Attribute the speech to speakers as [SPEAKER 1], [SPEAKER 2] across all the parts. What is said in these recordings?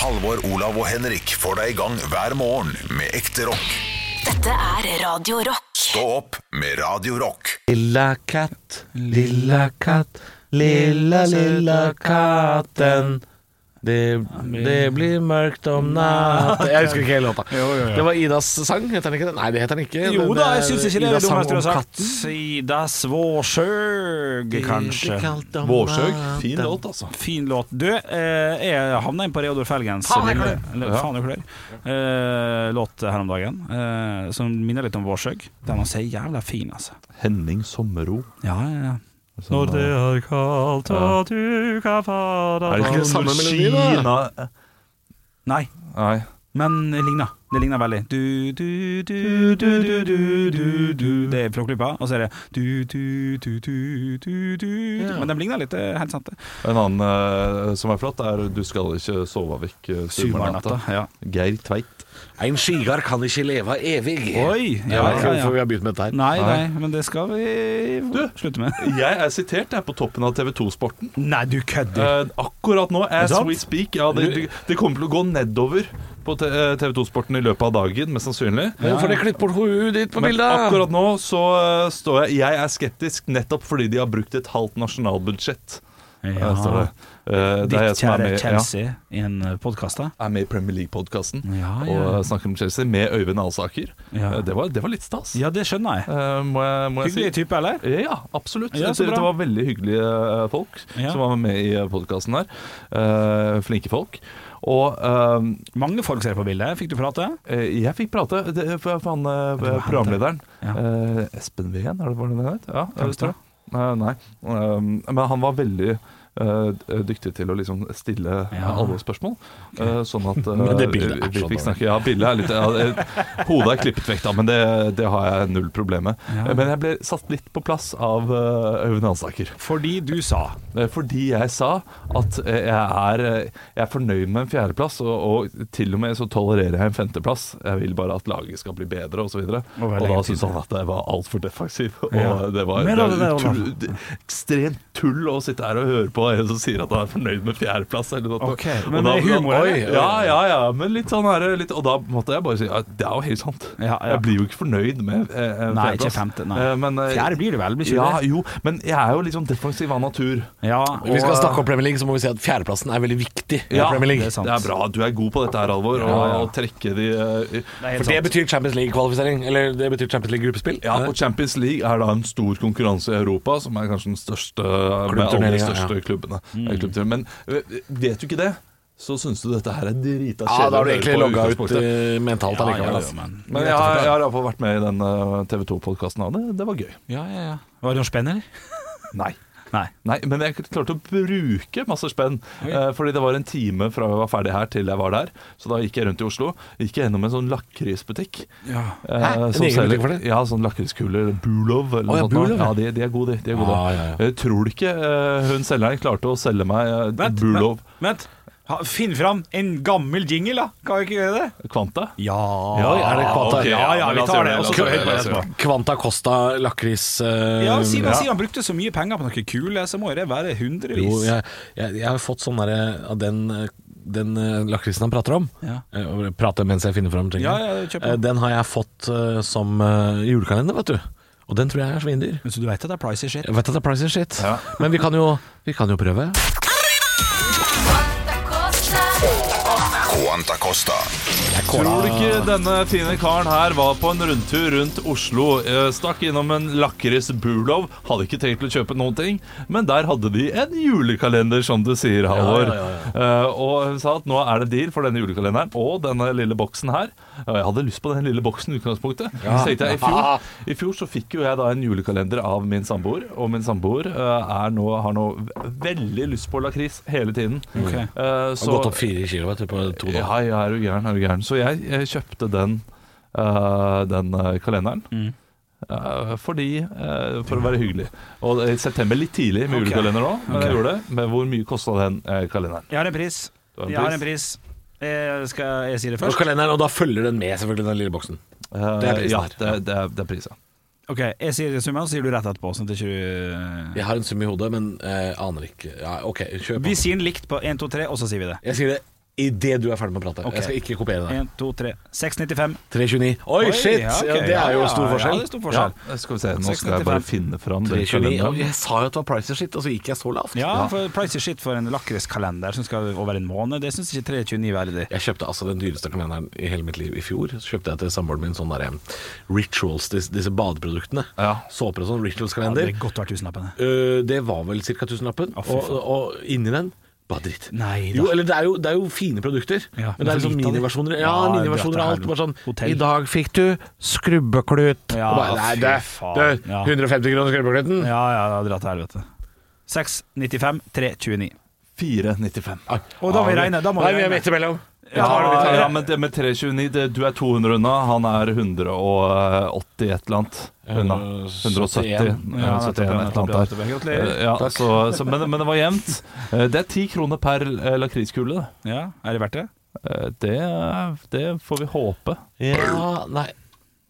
[SPEAKER 1] Halvor, Olav og Henrik får deg i gang hver morgen med ekte rock.
[SPEAKER 2] Dette er Radio Rock.
[SPEAKER 1] Stå opp med Radio Rock.
[SPEAKER 3] Lilla katt, lilla katt, lilla, lilla katten. Det, det blir mørkt om natten Jeg husker ikke hele låta. Det var Idas sang, heter den ikke det? Nei, det heter den ikke.
[SPEAKER 4] Jo
[SPEAKER 3] men
[SPEAKER 4] da,
[SPEAKER 3] er
[SPEAKER 4] jeg syns ikke det er
[SPEAKER 3] Idas
[SPEAKER 4] det
[SPEAKER 3] sang
[SPEAKER 4] dummeste du
[SPEAKER 3] om
[SPEAKER 4] har sagt. Ida Svårsjøg, kanskje.
[SPEAKER 5] Vårsøg. Fin låt, altså.
[SPEAKER 4] Fin låt. Du, eh, jeg havna inn på Reodor Felgens
[SPEAKER 3] Faen, jeg
[SPEAKER 4] lille-
[SPEAKER 3] klør.
[SPEAKER 4] eller, faen, jeg klør. Eh, låt her om dagen, eh, som minner litt om Vårsøg. Den var så jævla fin, altså.
[SPEAKER 5] Henning Sommero.
[SPEAKER 4] Ja, ja, ja.
[SPEAKER 5] Som, eh,
[SPEAKER 4] er kaldt og du kan
[SPEAKER 5] er
[SPEAKER 4] fade
[SPEAKER 5] det ikke
[SPEAKER 3] Når
[SPEAKER 5] samme melodi,
[SPEAKER 3] Kina-
[SPEAKER 5] da?
[SPEAKER 4] Nei,
[SPEAKER 5] Nei.
[SPEAKER 4] men det ligner. Det ligner veldig. Du, du, du, du, du, du, du, du. Det er Flåklypa, og så er det du, du, du, du, du, du.
[SPEAKER 3] Ja.
[SPEAKER 4] Men de ligner litt, det er helt sant. det.
[SPEAKER 5] En annen eh, som er flott, er 'Du skal ikke sove vekk eh,
[SPEAKER 4] Sumarnatta.
[SPEAKER 5] sumarnatta'.
[SPEAKER 4] Ja.
[SPEAKER 5] Geir Tveit.
[SPEAKER 3] En skygard kan ikke leve evig.
[SPEAKER 4] Oi!
[SPEAKER 3] Jeg
[SPEAKER 4] Ja,
[SPEAKER 3] vet ikke
[SPEAKER 4] ja,
[SPEAKER 3] hvorfor
[SPEAKER 4] ja.
[SPEAKER 3] vi har begynt med dette her.
[SPEAKER 4] Nei,
[SPEAKER 5] Nei.
[SPEAKER 4] nei, men det skal vi slutte med.
[SPEAKER 5] Jeg er sitert jeg, på toppen av TV 2-sporten.
[SPEAKER 4] Nei, du kødder.
[SPEAKER 5] Eh, akkurat nå, as
[SPEAKER 4] Er det sant?
[SPEAKER 5] we speak. Ja, det, det- det kommer til å gå nedover på eh, TV 2-sporten i løpet av dagen, mest sannsynlig.
[SPEAKER 3] Men Hvorfor har de klippet bort hodet ditt på
[SPEAKER 5] Men
[SPEAKER 3] bildet?
[SPEAKER 5] akkurat nå så eh, står jeg Jeg er skeptisk nettopp fordi de har brukt et halvt nasjonalbudsjett. Ja. Står det. Eh, det er jeg
[SPEAKER 4] Ditt
[SPEAKER 5] som er
[SPEAKER 4] kjære
[SPEAKER 5] med, ja,
[SPEAKER 4] Chelsea i en podkast, da.
[SPEAKER 5] er med i Premier League-podkasten
[SPEAKER 4] Ja, ja,
[SPEAKER 5] og
[SPEAKER 4] ja.
[SPEAKER 5] eh, snakker om Chelsea med Øyvind Alsaker.
[SPEAKER 4] Ja.
[SPEAKER 5] Eh, det, var, det var litt stas,
[SPEAKER 4] Ja, det skjønner jeg.
[SPEAKER 5] eh, må jeg, må jeg si.
[SPEAKER 4] Hyggelig type, eller?
[SPEAKER 5] Ja, absolutt.
[SPEAKER 4] Ja, så
[SPEAKER 5] det,
[SPEAKER 4] bra.
[SPEAKER 5] det var veldig hyggelige eh, folk
[SPEAKER 4] Ja.
[SPEAKER 5] som var med i podkasten her. Eh, flinke folk. Og eh,
[SPEAKER 4] Mange folk ser på bildet. Fikk du prate?
[SPEAKER 5] eh, jeg fikk prate det, for jeg fant eh,
[SPEAKER 4] var han,
[SPEAKER 5] programlederen.
[SPEAKER 4] ja.
[SPEAKER 5] Eh, Espen Wien, er det hva han het? Ja,
[SPEAKER 4] Hvem
[SPEAKER 5] jeg tror
[SPEAKER 4] da?
[SPEAKER 5] det. Eh, nei. Eh, men han var veldig eh, dyktig til å liksom stille
[SPEAKER 4] Ja.
[SPEAKER 5] alle spørsmål, eh, sånn at eh,
[SPEAKER 3] Men det bildet er
[SPEAKER 5] vi
[SPEAKER 3] så
[SPEAKER 5] fikk
[SPEAKER 3] dårlig.
[SPEAKER 5] snakke Ja, bildet er litt ja, eh, Hodet er klippet vekk, da, men det, det har jeg null problem med.
[SPEAKER 4] Ja.
[SPEAKER 5] Eh, Men jeg ble satt litt på plass av eh, Øyvind Alsaker.
[SPEAKER 4] Fordi du sa
[SPEAKER 5] Eh, Fordi jeg sa at eh, jeg er, eh, jeg er fornøyd med en fjerdeplass, og, og til og med så tolererer jeg en femteplass. Jeg vil bare at laget skal bli bedre, osv. Og, så
[SPEAKER 4] Og være
[SPEAKER 5] videre. og da
[SPEAKER 4] lenger
[SPEAKER 5] syntes han at jeg var altfor defensiv. Og
[SPEAKER 4] Ja.
[SPEAKER 5] det var,
[SPEAKER 4] Mer
[SPEAKER 5] det
[SPEAKER 4] av det der,
[SPEAKER 5] var
[SPEAKER 4] Olav.
[SPEAKER 5] utrolig- det- ekstremt tull å sitte her og høre på en som sier at han er fornøyd med fjerdeplass. Eller noe.
[SPEAKER 4] Ok,
[SPEAKER 5] Og
[SPEAKER 4] men det er humor,
[SPEAKER 5] oi,
[SPEAKER 4] eller?
[SPEAKER 5] Ja, ja, ja. Men litt sånn her, litt, og da måtte jeg bare si at det er jo helt sant.
[SPEAKER 4] Ja, ja.
[SPEAKER 5] Jeg blir jo ikke fornøyd med eh, en
[SPEAKER 4] Nei, ikke
[SPEAKER 5] fjerdeplass.
[SPEAKER 4] femte, nei.
[SPEAKER 5] Eh, men, eh,
[SPEAKER 4] Fjerde blir det vel, blir ikke
[SPEAKER 5] ja,
[SPEAKER 4] det?
[SPEAKER 5] jo, men jeg er jo litt sånn defensiv av natur.
[SPEAKER 4] Ja.
[SPEAKER 3] Hvis vi skal
[SPEAKER 4] og-
[SPEAKER 3] snakke om Premier League, så må vi si at fjerdeplassen er veldig viktig. i Premier League
[SPEAKER 4] det er sant.
[SPEAKER 5] Det er bra. Du er god på dette her, Alvor. Å
[SPEAKER 4] ja.
[SPEAKER 5] å trekke de eh,
[SPEAKER 4] Det er helt
[SPEAKER 3] For det
[SPEAKER 4] sant.
[SPEAKER 3] betyr Champions League-kvalifisering. Eller det betyr Champions League-gruppespill.
[SPEAKER 5] ja, og Champions League er da en stor konkurranse i Europa, som er kanskje den største eh, med alle
[SPEAKER 3] Klubbturneringen,
[SPEAKER 5] de
[SPEAKER 3] ja.
[SPEAKER 5] største klubbene.
[SPEAKER 4] Mm.
[SPEAKER 5] Eh, klubbturneringen. Men eh, vet du ikke det, så syns du dette her er drita
[SPEAKER 3] Ja, da har du
[SPEAKER 5] å høre
[SPEAKER 3] egentlig
[SPEAKER 5] på i
[SPEAKER 3] logga ut
[SPEAKER 5] utgangspunktet.
[SPEAKER 3] eh, mentalt
[SPEAKER 4] ja, ja,
[SPEAKER 3] allikevel.
[SPEAKER 4] ja,
[SPEAKER 3] altså.
[SPEAKER 4] men.
[SPEAKER 5] Men jeg, har- jeg har iallfall vært med i den eh, TV 2-podkasten, og det, det var gøy.
[SPEAKER 4] ja, ja, ja. Var det noe spenn, eller?
[SPEAKER 5] Nei.
[SPEAKER 4] Nei.
[SPEAKER 5] Nei, men jeg klarte å bruke masse spenn. eh, fordi det var en time fra jeg var ferdig her til jeg var der. Så da gikk jeg rundt i Oslo. Gikk jeg gjennom en sånn lakrisbutikk.
[SPEAKER 4] Ja.
[SPEAKER 5] Eh,
[SPEAKER 3] Hæ? En
[SPEAKER 5] som
[SPEAKER 3] egen
[SPEAKER 5] selger-
[SPEAKER 3] butikk for det?
[SPEAKER 5] Ja, sånn lakriskuler. eller Bulov eller
[SPEAKER 3] Å, ja,
[SPEAKER 5] noe sånt. nå.
[SPEAKER 3] Bulov, ja. Ah,
[SPEAKER 5] Ja, de, de er gode, de. de er gode.
[SPEAKER 3] Ja, ja, ja.
[SPEAKER 5] Jeg tror du ikke eh, hun selgeren klarte å selge meg eh,
[SPEAKER 4] Vent,
[SPEAKER 5] Bulov
[SPEAKER 4] vent, vent. Ha- Finn fram en gammel jingle, da. Kan vi ikke gjøre det?
[SPEAKER 5] Kvanta? Ah,
[SPEAKER 4] Ja.
[SPEAKER 3] Oi, er det kvanta?
[SPEAKER 5] ok,
[SPEAKER 4] Ja, ja,
[SPEAKER 5] men
[SPEAKER 4] vi
[SPEAKER 5] la oss
[SPEAKER 4] tar
[SPEAKER 5] gjøre
[SPEAKER 4] det, og så
[SPEAKER 5] la oss
[SPEAKER 4] høyt
[SPEAKER 5] gjøre
[SPEAKER 4] på
[SPEAKER 5] la oss
[SPEAKER 4] det
[SPEAKER 5] gjøre
[SPEAKER 4] etterpå.
[SPEAKER 3] Kvanta Costa lakris eh,
[SPEAKER 4] Ja, siden,
[SPEAKER 5] Ja.
[SPEAKER 4] siden han brukte så mye penger på noe kule, så må jo det være hundrevis.
[SPEAKER 3] Jo, jeg, jeg, jeg har fått sånn derre av den, eh, den eh, lakrisen han prater om.
[SPEAKER 4] Ja.
[SPEAKER 3] Eh, og Prater mens jeg finner fram
[SPEAKER 4] Ja, ja, kjøp den.
[SPEAKER 3] Eh, Den har jeg fått eh, som eh, julekalender, vet du. Og den tror jeg er svindyr.
[SPEAKER 4] Men Så du veit at det er pricy shit?
[SPEAKER 3] Jeg vet at det er price is shit, men vi kan, jo, vi kan jo prøve.
[SPEAKER 1] Quanta Costa.
[SPEAKER 5] Tror du ikke denne fine karen her var på en rundtur rundt Oslo? eh, Stakk innom en lakris Bulov, hadde ikke tenkt å kjøpe noen ting, men der hadde de en julekalender, som du sier, Halvor. Eh, Og hun sa at nå er det deal for denne julekalenderen og denne lille boksen her. Og Jeg hadde lyst på den lille boksen i utgangspunktet. Så tenkte jeg, i fjor, I fjor så fikk jo jeg da en julekalender av min samboer, og min samboer eh, er nå, har nå veldig lyst på lakris hele tiden.
[SPEAKER 4] Ok.
[SPEAKER 5] Eh,
[SPEAKER 3] Har
[SPEAKER 5] så-
[SPEAKER 3] gått opp fire kilo vet du, på to dager.
[SPEAKER 5] ja, ja, er du gæren, er du gæren. Så jeg, eh, kjøpte den, eh, den eh, kalenderen. Eh, fordi eh, For å være hyggelig. Og i september litt tidlig med
[SPEAKER 4] Ok.
[SPEAKER 5] julekalender òg, men jeg gjorde det. Men hvor mye kosta den eh, kalenderen?
[SPEAKER 4] Jeg har en pris.
[SPEAKER 5] Du har en
[SPEAKER 4] Jeg har
[SPEAKER 5] pris?
[SPEAKER 4] en pris. Jeg, skal jeg si det
[SPEAKER 3] Og
[SPEAKER 4] først?
[SPEAKER 3] kalenderen, og da følger den med, selvfølgelig, den lille boksen.
[SPEAKER 5] Eh,
[SPEAKER 3] det er prisen
[SPEAKER 5] ja,
[SPEAKER 3] her.
[SPEAKER 5] det, det, er, det er prisen.
[SPEAKER 4] Ok, Jeg sier summen, så sier du rett etterpå. Sånn at ikke du
[SPEAKER 3] Jeg har en sum i hodet, men eh, aner ikke ja, OK, kjør
[SPEAKER 4] Vi
[SPEAKER 3] på.
[SPEAKER 4] sier den likt på 1, 2, 3, og så sier vi det.
[SPEAKER 3] Jeg sier det idet du er ferdig med å prate. Jeg skal ikke kopiere deg.
[SPEAKER 4] 1, 2, 3 695.
[SPEAKER 3] 329. Oi,
[SPEAKER 4] Oi,
[SPEAKER 3] shit!
[SPEAKER 4] ja, ok.
[SPEAKER 3] ja, det er jo
[SPEAKER 4] Ja,
[SPEAKER 3] stor
[SPEAKER 4] ja,
[SPEAKER 3] forskjell.
[SPEAKER 4] ja, det er stor forskjell.
[SPEAKER 5] Skal vi se, nå skal jeg bare finne fram den
[SPEAKER 3] 329. Ja,
[SPEAKER 5] kalenderen.
[SPEAKER 3] Jeg sa jo at det var price shit, og så gikk jeg så lavt.
[SPEAKER 4] Ja, for price is shit for en lakriskalender som skal over en måned. Det syns ikke 329 er verdig.
[SPEAKER 3] Jeg kjøpte altså den dyreste kalenderen i hele mitt liv i fjor. Så kjøpte jeg til samboeren min sånn der em, rituals, disse, disse badeproduktene.
[SPEAKER 5] Ja.
[SPEAKER 3] Såper og sånn,
[SPEAKER 4] Det
[SPEAKER 3] rituals-kalender.
[SPEAKER 4] hadde godt vært tusenlappene.
[SPEAKER 3] Øh, det var vel ca. tusenlappen.
[SPEAKER 4] Å, fy
[SPEAKER 3] og, og inni den bare dritt.
[SPEAKER 4] Nei da.
[SPEAKER 3] jo, eller det er jo, det er jo fine produkter,
[SPEAKER 4] Ja,
[SPEAKER 3] men det er
[SPEAKER 4] men så
[SPEAKER 3] sånn
[SPEAKER 4] lite av det.
[SPEAKER 3] miniversjoner. Ja,
[SPEAKER 4] Ja,
[SPEAKER 3] miniversjoner av alt.
[SPEAKER 4] det er
[SPEAKER 3] Bare sånn
[SPEAKER 4] hotell.
[SPEAKER 3] I dag fikk du skrubbeklut.
[SPEAKER 4] Ja,
[SPEAKER 3] Og bare, nei,
[SPEAKER 4] fy
[SPEAKER 3] det,
[SPEAKER 4] faen.
[SPEAKER 3] det,
[SPEAKER 4] Ja.
[SPEAKER 3] 150 kroner skrubbeklutten.
[SPEAKER 4] Ja, ja, det hadde dratt til helvete. 695, 329.
[SPEAKER 5] 495.
[SPEAKER 4] Og da må vi regne. Da må
[SPEAKER 3] Ah, Nei,
[SPEAKER 4] vi
[SPEAKER 3] vi er
[SPEAKER 4] regne.
[SPEAKER 3] midt imellom.
[SPEAKER 5] Ja,
[SPEAKER 4] Ja,
[SPEAKER 5] ja, men det med 329 det, Du er 200 unna, han er 180 et eller annet unna. 170.
[SPEAKER 3] Ja,
[SPEAKER 5] Ja,
[SPEAKER 4] nettopp,
[SPEAKER 5] 71 Eh, et eller
[SPEAKER 4] nettopp,
[SPEAKER 5] annet
[SPEAKER 4] nettopp.
[SPEAKER 5] der.
[SPEAKER 4] Gratulerer.
[SPEAKER 5] Eh, Ja, så, så, men, men det var jevnt. Eh, Det er ti kroner per eh, lakriskule. det.
[SPEAKER 4] Ja, er det verdt det?
[SPEAKER 5] Eh, Det, det får vi håpe.
[SPEAKER 3] Ja, nei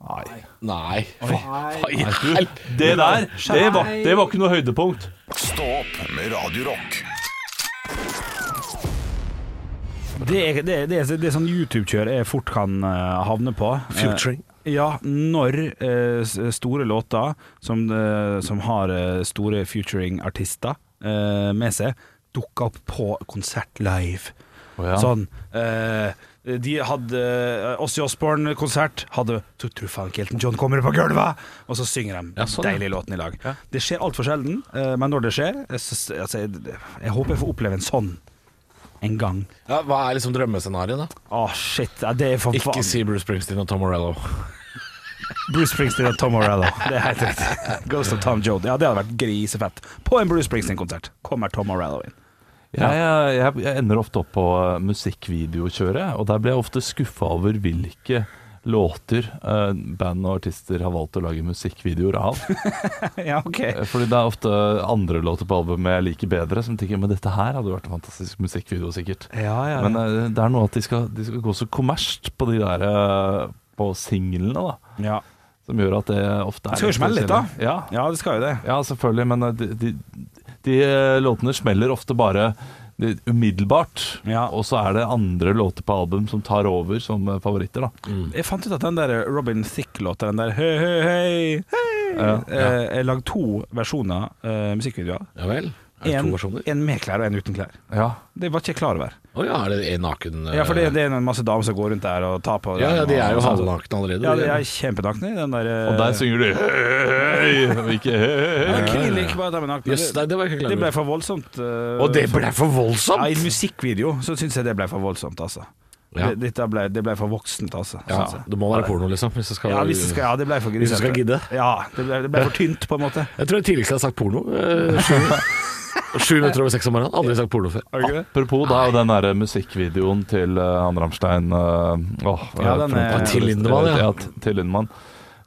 [SPEAKER 3] Ah,
[SPEAKER 5] Nei.
[SPEAKER 3] Nei. Hva i
[SPEAKER 5] Du,
[SPEAKER 3] helvete?
[SPEAKER 5] det der, det var, det var ikke noe høydepunkt.
[SPEAKER 1] Stå opp med Radio Rock.
[SPEAKER 4] Det, er- det, er- det, er- det er sånn YouTube-kjør jeg fort kan eh, havne på.
[SPEAKER 3] Futuring.
[SPEAKER 4] Eh, ja, når eh, s- store låter som, eh, som har eh, store futuring-artister eh, med seg, dukker opp på konsert live. Sånn eh, De hadde eh, Ozzy Osbourne-konsert, hadde «Du tror faen ikke Elton John kommer på gulvet! Og så synger de
[SPEAKER 3] Ja, sånn, ja.
[SPEAKER 4] deilig låten i lag. Det skjer altfor sjelden, eh, men når det skjer jeg, synes- altså, jeg, jeg håper jeg får oppleve en sånn en gang.
[SPEAKER 3] Ja, hva er liksom drømmescenarioet, da?
[SPEAKER 4] Å, shit. Ja, det er for
[SPEAKER 3] Ikke
[SPEAKER 4] faen
[SPEAKER 3] si Bruce Springsteen og Tom Morello.
[SPEAKER 4] Bruce Springsteen og Tom Morello. Det er helt riktig. Ghost of Tom Joad. Ja, det hadde vært grisefett. På en Bruce Springsteen-konsert kommer Tom Morello inn.
[SPEAKER 5] Jeg, jeg, jeg ender ofte opp på eh, musikkvideokjøret, og der blir jeg ofte skuffa over hvilke låter eh, band og artister har valgt å lage musikkvideoer av.
[SPEAKER 4] Ja, ok.
[SPEAKER 5] Eh, Fordi det er ofte andre låter på albumet jeg liker bedre, som tenker men dette her hadde vært en fantastisk musikkvideo, sikkert.
[SPEAKER 4] Ja, ja.
[SPEAKER 5] Men eh, det er noe at de skal, de skal gå så kommersielt på de der eh, på singlene, da.
[SPEAKER 4] ja.
[SPEAKER 5] Som gjør at det ofte er
[SPEAKER 4] Det skal jo smelle litt, da.
[SPEAKER 5] Ja,
[SPEAKER 4] ja, det skal jo det.
[SPEAKER 5] ja, selvfølgelig, men eh, de, de, de eh, låtene smeller ofte bare eh, umiddelbart.
[SPEAKER 4] Ja.
[SPEAKER 5] Og så er det andre låter på album som tar over som eh, favoritter, da.
[SPEAKER 4] Jeg fant ut at den der Robin Thicke-låta, den der Høy, høy, høy, høy
[SPEAKER 5] Ja,
[SPEAKER 4] eh, Jeg lagde to versjoner eh, musikkvideoer.
[SPEAKER 3] Ja vel? Er det
[SPEAKER 4] En,
[SPEAKER 3] to versjoner?
[SPEAKER 4] en med klær og en uten klær.
[SPEAKER 5] Ja.
[SPEAKER 4] Det var ikke jeg klar over.
[SPEAKER 3] Å ja, er det en naken eh,
[SPEAKER 4] Ja, for det, det er en masse damer som går rundt der og tar på
[SPEAKER 3] ja, ja, de er jo
[SPEAKER 4] og- sånn.
[SPEAKER 3] halvnakne allerede.
[SPEAKER 4] Ja, de er kjempenakne. i Den der eh,
[SPEAKER 5] Og der synger de hei, hei, og ikke hei, hei,
[SPEAKER 4] Ja,
[SPEAKER 5] hei.
[SPEAKER 4] kvinner ikke bare damer nakne.
[SPEAKER 3] Jøss, nei, det var jeg ikke klar
[SPEAKER 4] Det ble
[SPEAKER 3] over.
[SPEAKER 4] for voldsomt. eh,
[SPEAKER 3] Og det ble for
[SPEAKER 4] Ja, I
[SPEAKER 3] voldsomt!
[SPEAKER 4] musikkvideo så syns jeg det ble for voldsomt, altså.
[SPEAKER 3] Ja.
[SPEAKER 4] Det, dette ble, det ble for voksent, altså.
[SPEAKER 3] Ja,
[SPEAKER 4] synes jeg.
[SPEAKER 3] det må være porno, liksom. Hvis det skal,
[SPEAKER 4] Ja, hvis det skal, ja, det ble for
[SPEAKER 3] Hvis du skal gidde.
[SPEAKER 4] grisete. Ja, det ble, det ble for tynt, på en måte.
[SPEAKER 3] Jeg tror jeg tidligst har sagt porno. eh, sju- Sju minutter over seks om morgenen. Aldri sagt porno før.
[SPEAKER 5] Apropos, det er jo den der eh, musikkvideoen til eh, han Rammstein eh, åh,
[SPEAKER 4] Ja,
[SPEAKER 5] eh,
[SPEAKER 4] den er-
[SPEAKER 5] front-
[SPEAKER 3] Til Lindemann, ja.
[SPEAKER 5] t- til Lindemann.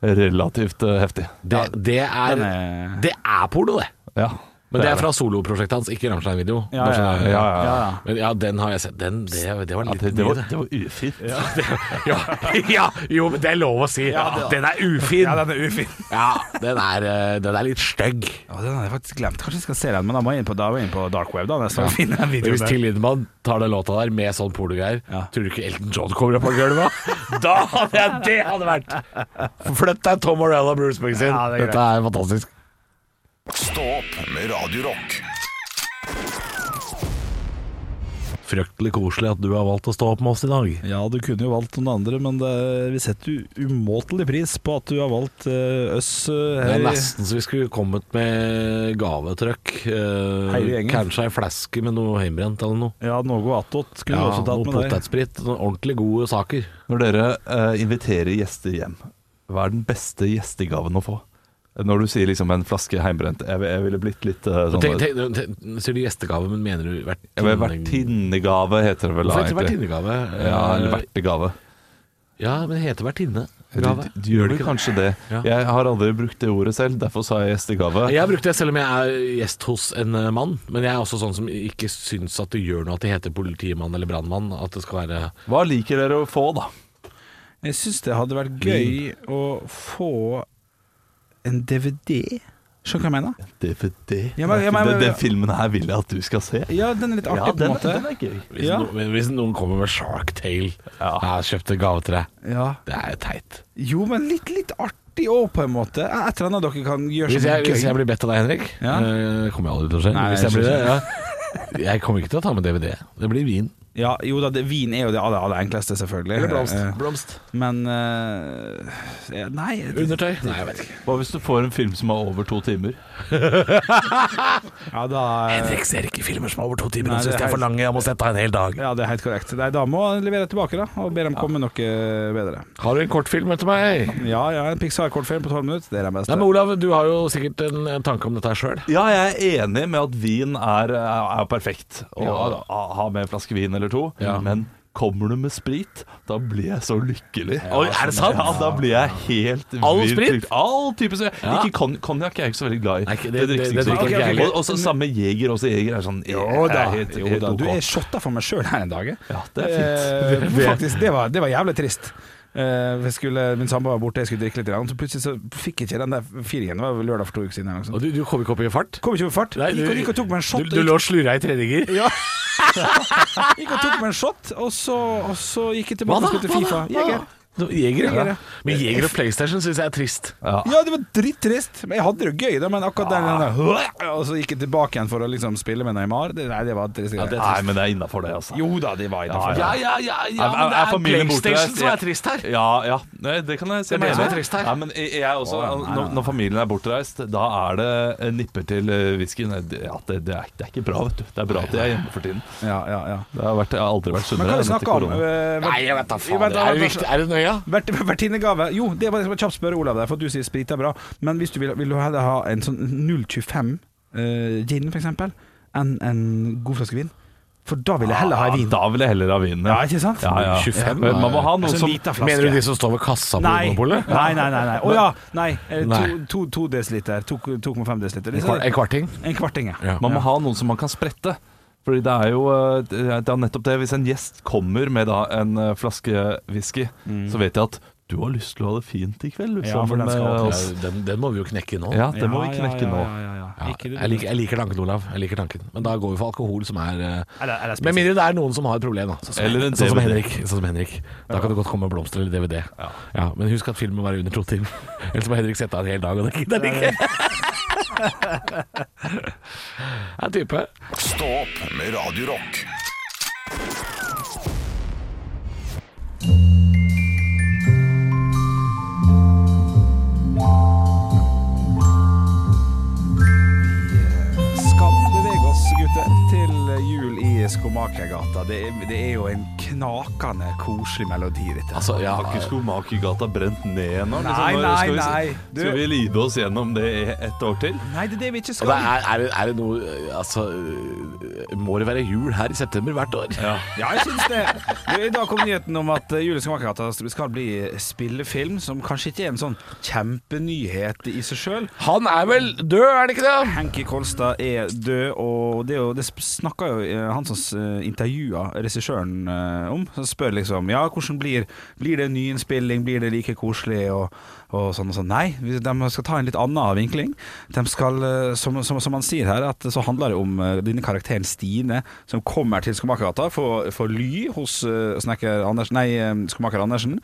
[SPEAKER 5] Relativt eh, heftig.
[SPEAKER 3] Det, det, er,
[SPEAKER 4] Den er-
[SPEAKER 3] det er porno, det.
[SPEAKER 5] Ja.
[SPEAKER 3] Men det er fra soloprosjektet hans, ikke Rammstein-video.
[SPEAKER 4] Ja,
[SPEAKER 3] Bare sånn,
[SPEAKER 5] Ja, ja, ja.
[SPEAKER 4] Ja,
[SPEAKER 3] Men ja, den har jeg sett. Den, det, det var
[SPEAKER 5] Ja,
[SPEAKER 3] litt
[SPEAKER 5] det, det var,
[SPEAKER 3] mye, det.
[SPEAKER 5] det var ufint.
[SPEAKER 3] Ja, ja, jo, men det er lov å si. den er ufin.
[SPEAKER 4] ja,
[SPEAKER 3] Ja,
[SPEAKER 4] den er ufin.
[SPEAKER 3] den er, eh, den er litt stygg.
[SPEAKER 4] Ja, den har jeg faktisk glemt. Kanskje jeg skal se den, men da må jeg inn på, da må jeg inn på dark web, da. Nesten, og finne den videoen
[SPEAKER 3] Hvis
[SPEAKER 4] der.
[SPEAKER 3] Till Lindemann tar den låta der med sånn pornogreier,
[SPEAKER 4] Ja.
[SPEAKER 3] tror du ikke Elton John kommer opp av gulvet? da hadde jeg det hadde vært! Flytt deg Tom Morella og Bruce Springsteen.
[SPEAKER 4] Ja, det er greit.
[SPEAKER 3] Dette er fantastisk.
[SPEAKER 1] Stå opp med Radio Rock.
[SPEAKER 3] Fryktelig koselig at du har valgt å stå opp med oss i dag.
[SPEAKER 4] Ja, du kunne jo valgt noen andre, men det, vi setter jo umåtelig pris på at du har valgt eh, oss eh,
[SPEAKER 3] Det
[SPEAKER 4] her.
[SPEAKER 3] er
[SPEAKER 4] i-
[SPEAKER 3] nesten så vi skulle kommet med gavetrøkk. Eh,
[SPEAKER 4] Hele gjengen.
[SPEAKER 3] kanskje ei flaske med noe hjemmebrent eller noe.
[SPEAKER 4] Ja, noe attåt skulle
[SPEAKER 3] Ja,
[SPEAKER 4] vi også tatt
[SPEAKER 3] noe
[SPEAKER 4] med deg.
[SPEAKER 3] potetsprit. Noen ordentlig gode saker.
[SPEAKER 5] Når dere eh, inviterer gjester hjem, hva er den beste gjestegaven å få? Når du sier liksom en flaske heimbrent. Jeg, jeg ville blitt litt eh, sånn
[SPEAKER 3] Tenk, tenk, tenk, sier du gjestegave, men mener du hvert
[SPEAKER 5] Jeg ville vært tinnegave, heter det vel da,
[SPEAKER 3] Hvorfor heter det
[SPEAKER 5] egentlig.
[SPEAKER 3] vertinnegave?
[SPEAKER 5] Ja, eller vertegave.
[SPEAKER 3] ja, men det heter vertinnegave.
[SPEAKER 5] Du, du gjør vel kanskje det.
[SPEAKER 3] Ja.
[SPEAKER 5] Jeg har aldri brukt det ordet selv, derfor sa jeg gjestegave.
[SPEAKER 3] Jeg har brukt det selv om jeg er gjest hos en eh, mann, men jeg er også sånn som ikke syns at det gjør noe at det heter politimann eller brannmann. At det skal være
[SPEAKER 5] Hva liker dere å få, da?
[SPEAKER 4] Jeg syns det hadde vært gøy å få en DVD Skjønner du hva jeg mener?
[SPEAKER 5] DVD.
[SPEAKER 4] Ja, men- ja, men-
[SPEAKER 5] den, den filmen her vil jeg at du skal se.
[SPEAKER 4] Ja, den er litt artig
[SPEAKER 5] Ja,
[SPEAKER 4] på en
[SPEAKER 5] den,
[SPEAKER 4] måte.
[SPEAKER 5] den er gøy.
[SPEAKER 3] Hvis,
[SPEAKER 4] Ja.
[SPEAKER 3] no, hvis noen kommer med Shark Tale
[SPEAKER 5] Ja.
[SPEAKER 3] Jeg har kjøpt en gave til deg.
[SPEAKER 4] Ja.
[SPEAKER 3] Det er teit.
[SPEAKER 4] Jo, men litt, litt artig òg, på en måte. Et eller annet dere kan gjøre
[SPEAKER 3] Hvis
[SPEAKER 4] som
[SPEAKER 3] jeg,
[SPEAKER 4] er
[SPEAKER 3] hvis jeg
[SPEAKER 4] gøy.
[SPEAKER 3] blir bedt av deg, Henrik
[SPEAKER 4] Ja.
[SPEAKER 3] eh, Kommer jeg aldri til å skje.
[SPEAKER 4] Nei,
[SPEAKER 3] hvis jeg
[SPEAKER 4] jeg
[SPEAKER 3] blir det, ja. Jeg kommer ikke til å ta med DVD. Det blir vin.
[SPEAKER 4] Ja, jo da, det, vin er jo det aller, aller enkleste, selvfølgelig. Eh,
[SPEAKER 3] Blomst.
[SPEAKER 4] Men eh, Nei. det-
[SPEAKER 3] Undertøy. Nei, jeg vet ikke.
[SPEAKER 5] Hva hvis du får en film som er over to timer?
[SPEAKER 4] Ja, da, eh,
[SPEAKER 3] Henrik ser ikke filmer som er over to timer.
[SPEAKER 4] Nei,
[SPEAKER 3] Han
[SPEAKER 4] det
[SPEAKER 3] syns de
[SPEAKER 4] er
[SPEAKER 3] er for lange. Jeg må sette av en hel dag.
[SPEAKER 4] ja, det er helt korrekt. Nei, da må jeg levere tilbake, da, og be dem komme med noe bedre.
[SPEAKER 3] Har du en kortfilm etter meg?
[SPEAKER 4] Ja, ja, en Pixar-kortfilm på tolv minutter, det er den beste.
[SPEAKER 3] Nei, men Olav, du har jo sikkert en, en tanke om dette her sjøl.
[SPEAKER 5] Ja, jeg er enig med at vin er, er perfekt. Å ha- ha med en flaske vin eller to.
[SPEAKER 3] Ja.
[SPEAKER 5] Men kommer du med sprit, da blir jeg så lykkelig.
[SPEAKER 3] Oi, er det sant?
[SPEAKER 5] Ja, da blir jeg helt
[SPEAKER 3] All
[SPEAKER 5] vilt
[SPEAKER 3] sprit?
[SPEAKER 5] lykkelig. All type sprit.
[SPEAKER 3] Ja.
[SPEAKER 5] Ikke kon konjakk er jeg ikke så veldig glad i.
[SPEAKER 3] Nei, ikke- det- det-
[SPEAKER 5] ikke
[SPEAKER 3] det
[SPEAKER 5] så
[SPEAKER 3] drikker
[SPEAKER 5] mye.
[SPEAKER 3] ikke jeg
[SPEAKER 5] Og- Og også samme jeger. Også jeger er sånn
[SPEAKER 4] Jo da,
[SPEAKER 5] er helt,
[SPEAKER 4] jo
[SPEAKER 5] helt
[SPEAKER 4] da.
[SPEAKER 5] ok.
[SPEAKER 4] Du er shotta for meg sjøl her en dag. jeg.
[SPEAKER 5] Ja, det er fint.
[SPEAKER 4] Eh, faktisk, det var, det var jævlig trist. Eh, jeg skulle, min samboer var borte, jeg skulle drikke litt, og så plutselig så fikk jeg ikke den der firingen. Det var vel lørdag for to uker siden. eller noe sånt.
[SPEAKER 3] Og du, du kom ikke opp i fart?
[SPEAKER 4] Kom ikke med fart.
[SPEAKER 3] Nei,
[SPEAKER 4] gikk, og, gikk og tok meg en shot.
[SPEAKER 3] Du, du lå og slurra i tredje gir?
[SPEAKER 4] Ja. gikk og tok meg en shot, og så, og så gikk jeg
[SPEAKER 3] Ah. Hva
[SPEAKER 4] tilbake
[SPEAKER 3] da?
[SPEAKER 4] og spilte Fifa. Jeger.
[SPEAKER 3] Jeger. Jeger,
[SPEAKER 4] Jeger,
[SPEAKER 3] ja.
[SPEAKER 4] ja.
[SPEAKER 3] Men Jeger og PlayStation syns jeg er trist.
[SPEAKER 4] Ja, det var drittrist. Men jeg hadde det jo gøy, da, men akkurat
[SPEAKER 3] Ah.
[SPEAKER 4] den, den der Og så gikk jeg tilbake igjen for å liksom spille med Neymar. Det, nei, det var trist.
[SPEAKER 3] det er
[SPEAKER 5] Nei, men det er innafor det, altså.
[SPEAKER 4] jo da, det var innafor.
[SPEAKER 5] Ja,
[SPEAKER 3] ja, ja,
[SPEAKER 5] Er- er- er familien borte?
[SPEAKER 3] trist her.
[SPEAKER 5] Ja, ja. Nei, det kan jeg se
[SPEAKER 3] Det er det
[SPEAKER 5] meg
[SPEAKER 3] som er
[SPEAKER 5] enig i.
[SPEAKER 3] trist her.
[SPEAKER 5] Ja, men jeg, jeg også, når, når familien er bortreist, da er det eh, nipper til eh, whisky. Nei, det- Ja, det, det, er, det er ikke bra, vet du. Det er bra at jeg er hjemme for tiden.
[SPEAKER 4] Ja, ja, ja.
[SPEAKER 5] Det har vært, jeg har aldri
[SPEAKER 4] Men
[SPEAKER 5] vært sunnere
[SPEAKER 4] hva vi
[SPEAKER 5] enn etter
[SPEAKER 4] snakker om?
[SPEAKER 5] korona.
[SPEAKER 4] Eh,
[SPEAKER 3] Nei, jeg vet da faen. Det er jo viktig. Er det nøya?
[SPEAKER 4] Vert, vertinnegave. Jo, det var det som var kjapt spørre Olav der, for at du sier sprit er bra. Men hvis du vil, vil du heller ha en sånn 0,25 eh, gin, for eksempel, enn en god flaske vin? For da vil jeg heller
[SPEAKER 3] Ah,
[SPEAKER 4] ha en
[SPEAKER 5] Ja,
[SPEAKER 4] vin.
[SPEAKER 5] Da vil jeg heller ha vin.
[SPEAKER 4] Ja, ikke sant?
[SPEAKER 5] Ja, ja.
[SPEAKER 3] 25,
[SPEAKER 5] Men man må ha
[SPEAKER 4] Altså
[SPEAKER 5] noe
[SPEAKER 4] en
[SPEAKER 5] som
[SPEAKER 4] liten flaske.
[SPEAKER 3] Mener du de som står ved kassa på
[SPEAKER 4] Nei.
[SPEAKER 3] Monopolet?
[SPEAKER 4] Nei, nei, nei. nei. Å ja, nei. eh,
[SPEAKER 3] Nei.
[SPEAKER 4] to- to- To desiliter. 2,5 desiliter.
[SPEAKER 3] En kvar- En kvarting?
[SPEAKER 4] En kvarting, ja.
[SPEAKER 3] Ja.
[SPEAKER 5] Man må ha noe som man kan sprette. Fordi det er jo eh, det er nettopp det. Hvis en gjest kommer med da en eh, flaske whisky, så vet jeg at du har lyst til å ha det fint i kveld du,
[SPEAKER 4] Mm. Ja, for
[SPEAKER 5] sammen
[SPEAKER 4] den skal
[SPEAKER 5] med
[SPEAKER 4] opp.
[SPEAKER 3] Ja,
[SPEAKER 5] oss.
[SPEAKER 3] Den, den må vi jo knekke nå.
[SPEAKER 5] Ja, det må vi knekke nå.
[SPEAKER 4] Ja, ja, ja, ja.
[SPEAKER 3] Ja,
[SPEAKER 4] Ikke det,
[SPEAKER 3] jeg, liker, jeg liker tanken, Olav. Jeg liker tanken Men da går vi for alkohol som er eh,
[SPEAKER 4] Eller, eller
[SPEAKER 3] Med
[SPEAKER 4] spesielt.
[SPEAKER 3] mindre det er noen som har et problem, da. Sånn som,
[SPEAKER 5] Eller en
[SPEAKER 3] sånn som
[SPEAKER 5] DVD.
[SPEAKER 3] Henrik. Sånn som Henrik. Da kan det godt komme blomster eller DVD. Ja. men husk at filmen må være under to timer. Ellers må Henrik sette av en hel dag, og det gidder han ikke. Det er type.
[SPEAKER 1] Stå opp med Radio Rock.
[SPEAKER 4] Skal vi bevege oss, gutter, til jul i Skomakergata. Det, er- det er jo en knakende koselig melodi, dette.
[SPEAKER 3] Altså, ja,
[SPEAKER 5] Har ikke Skomakergata brent ned ennå? liksom?
[SPEAKER 4] Nei,
[SPEAKER 5] Nå
[SPEAKER 4] nei,
[SPEAKER 5] skal vi-
[SPEAKER 4] nei. Du-
[SPEAKER 5] Skal vi lide oss gjennom det i ett år til?
[SPEAKER 4] Nei, det er det vi ikke
[SPEAKER 3] Og det er, er, det- er det noe eh, Altså, eh, må det være jul her i september hvert år?
[SPEAKER 4] Ja, jeg syns det. Du, I dag kom nyheten om at eh, Julie Skomakergata skal bli spillefilm, som kanskje ikke er en sånn kjempenyhet i seg sjøl.
[SPEAKER 3] Han er vel død, er det ikke det?
[SPEAKER 4] Henki Kolstad er død, og det, er jo- det sp- snakker jo eh, han som eh, intervjua regissøren eh, om. Så spør liksom ja, hvordan blir, blir det nyinnspilling, blir det like koselig og, og sånn og sånn. Nei, vi- de skal ta en litt annen vinkling. De skal, eh, som, som, som han sier her, at så handler det om eh, denne karakteren Stine som kommer til Skomakergata for, for ly hos eh, snekker Andersen, nei, eh, skomaker Andersen.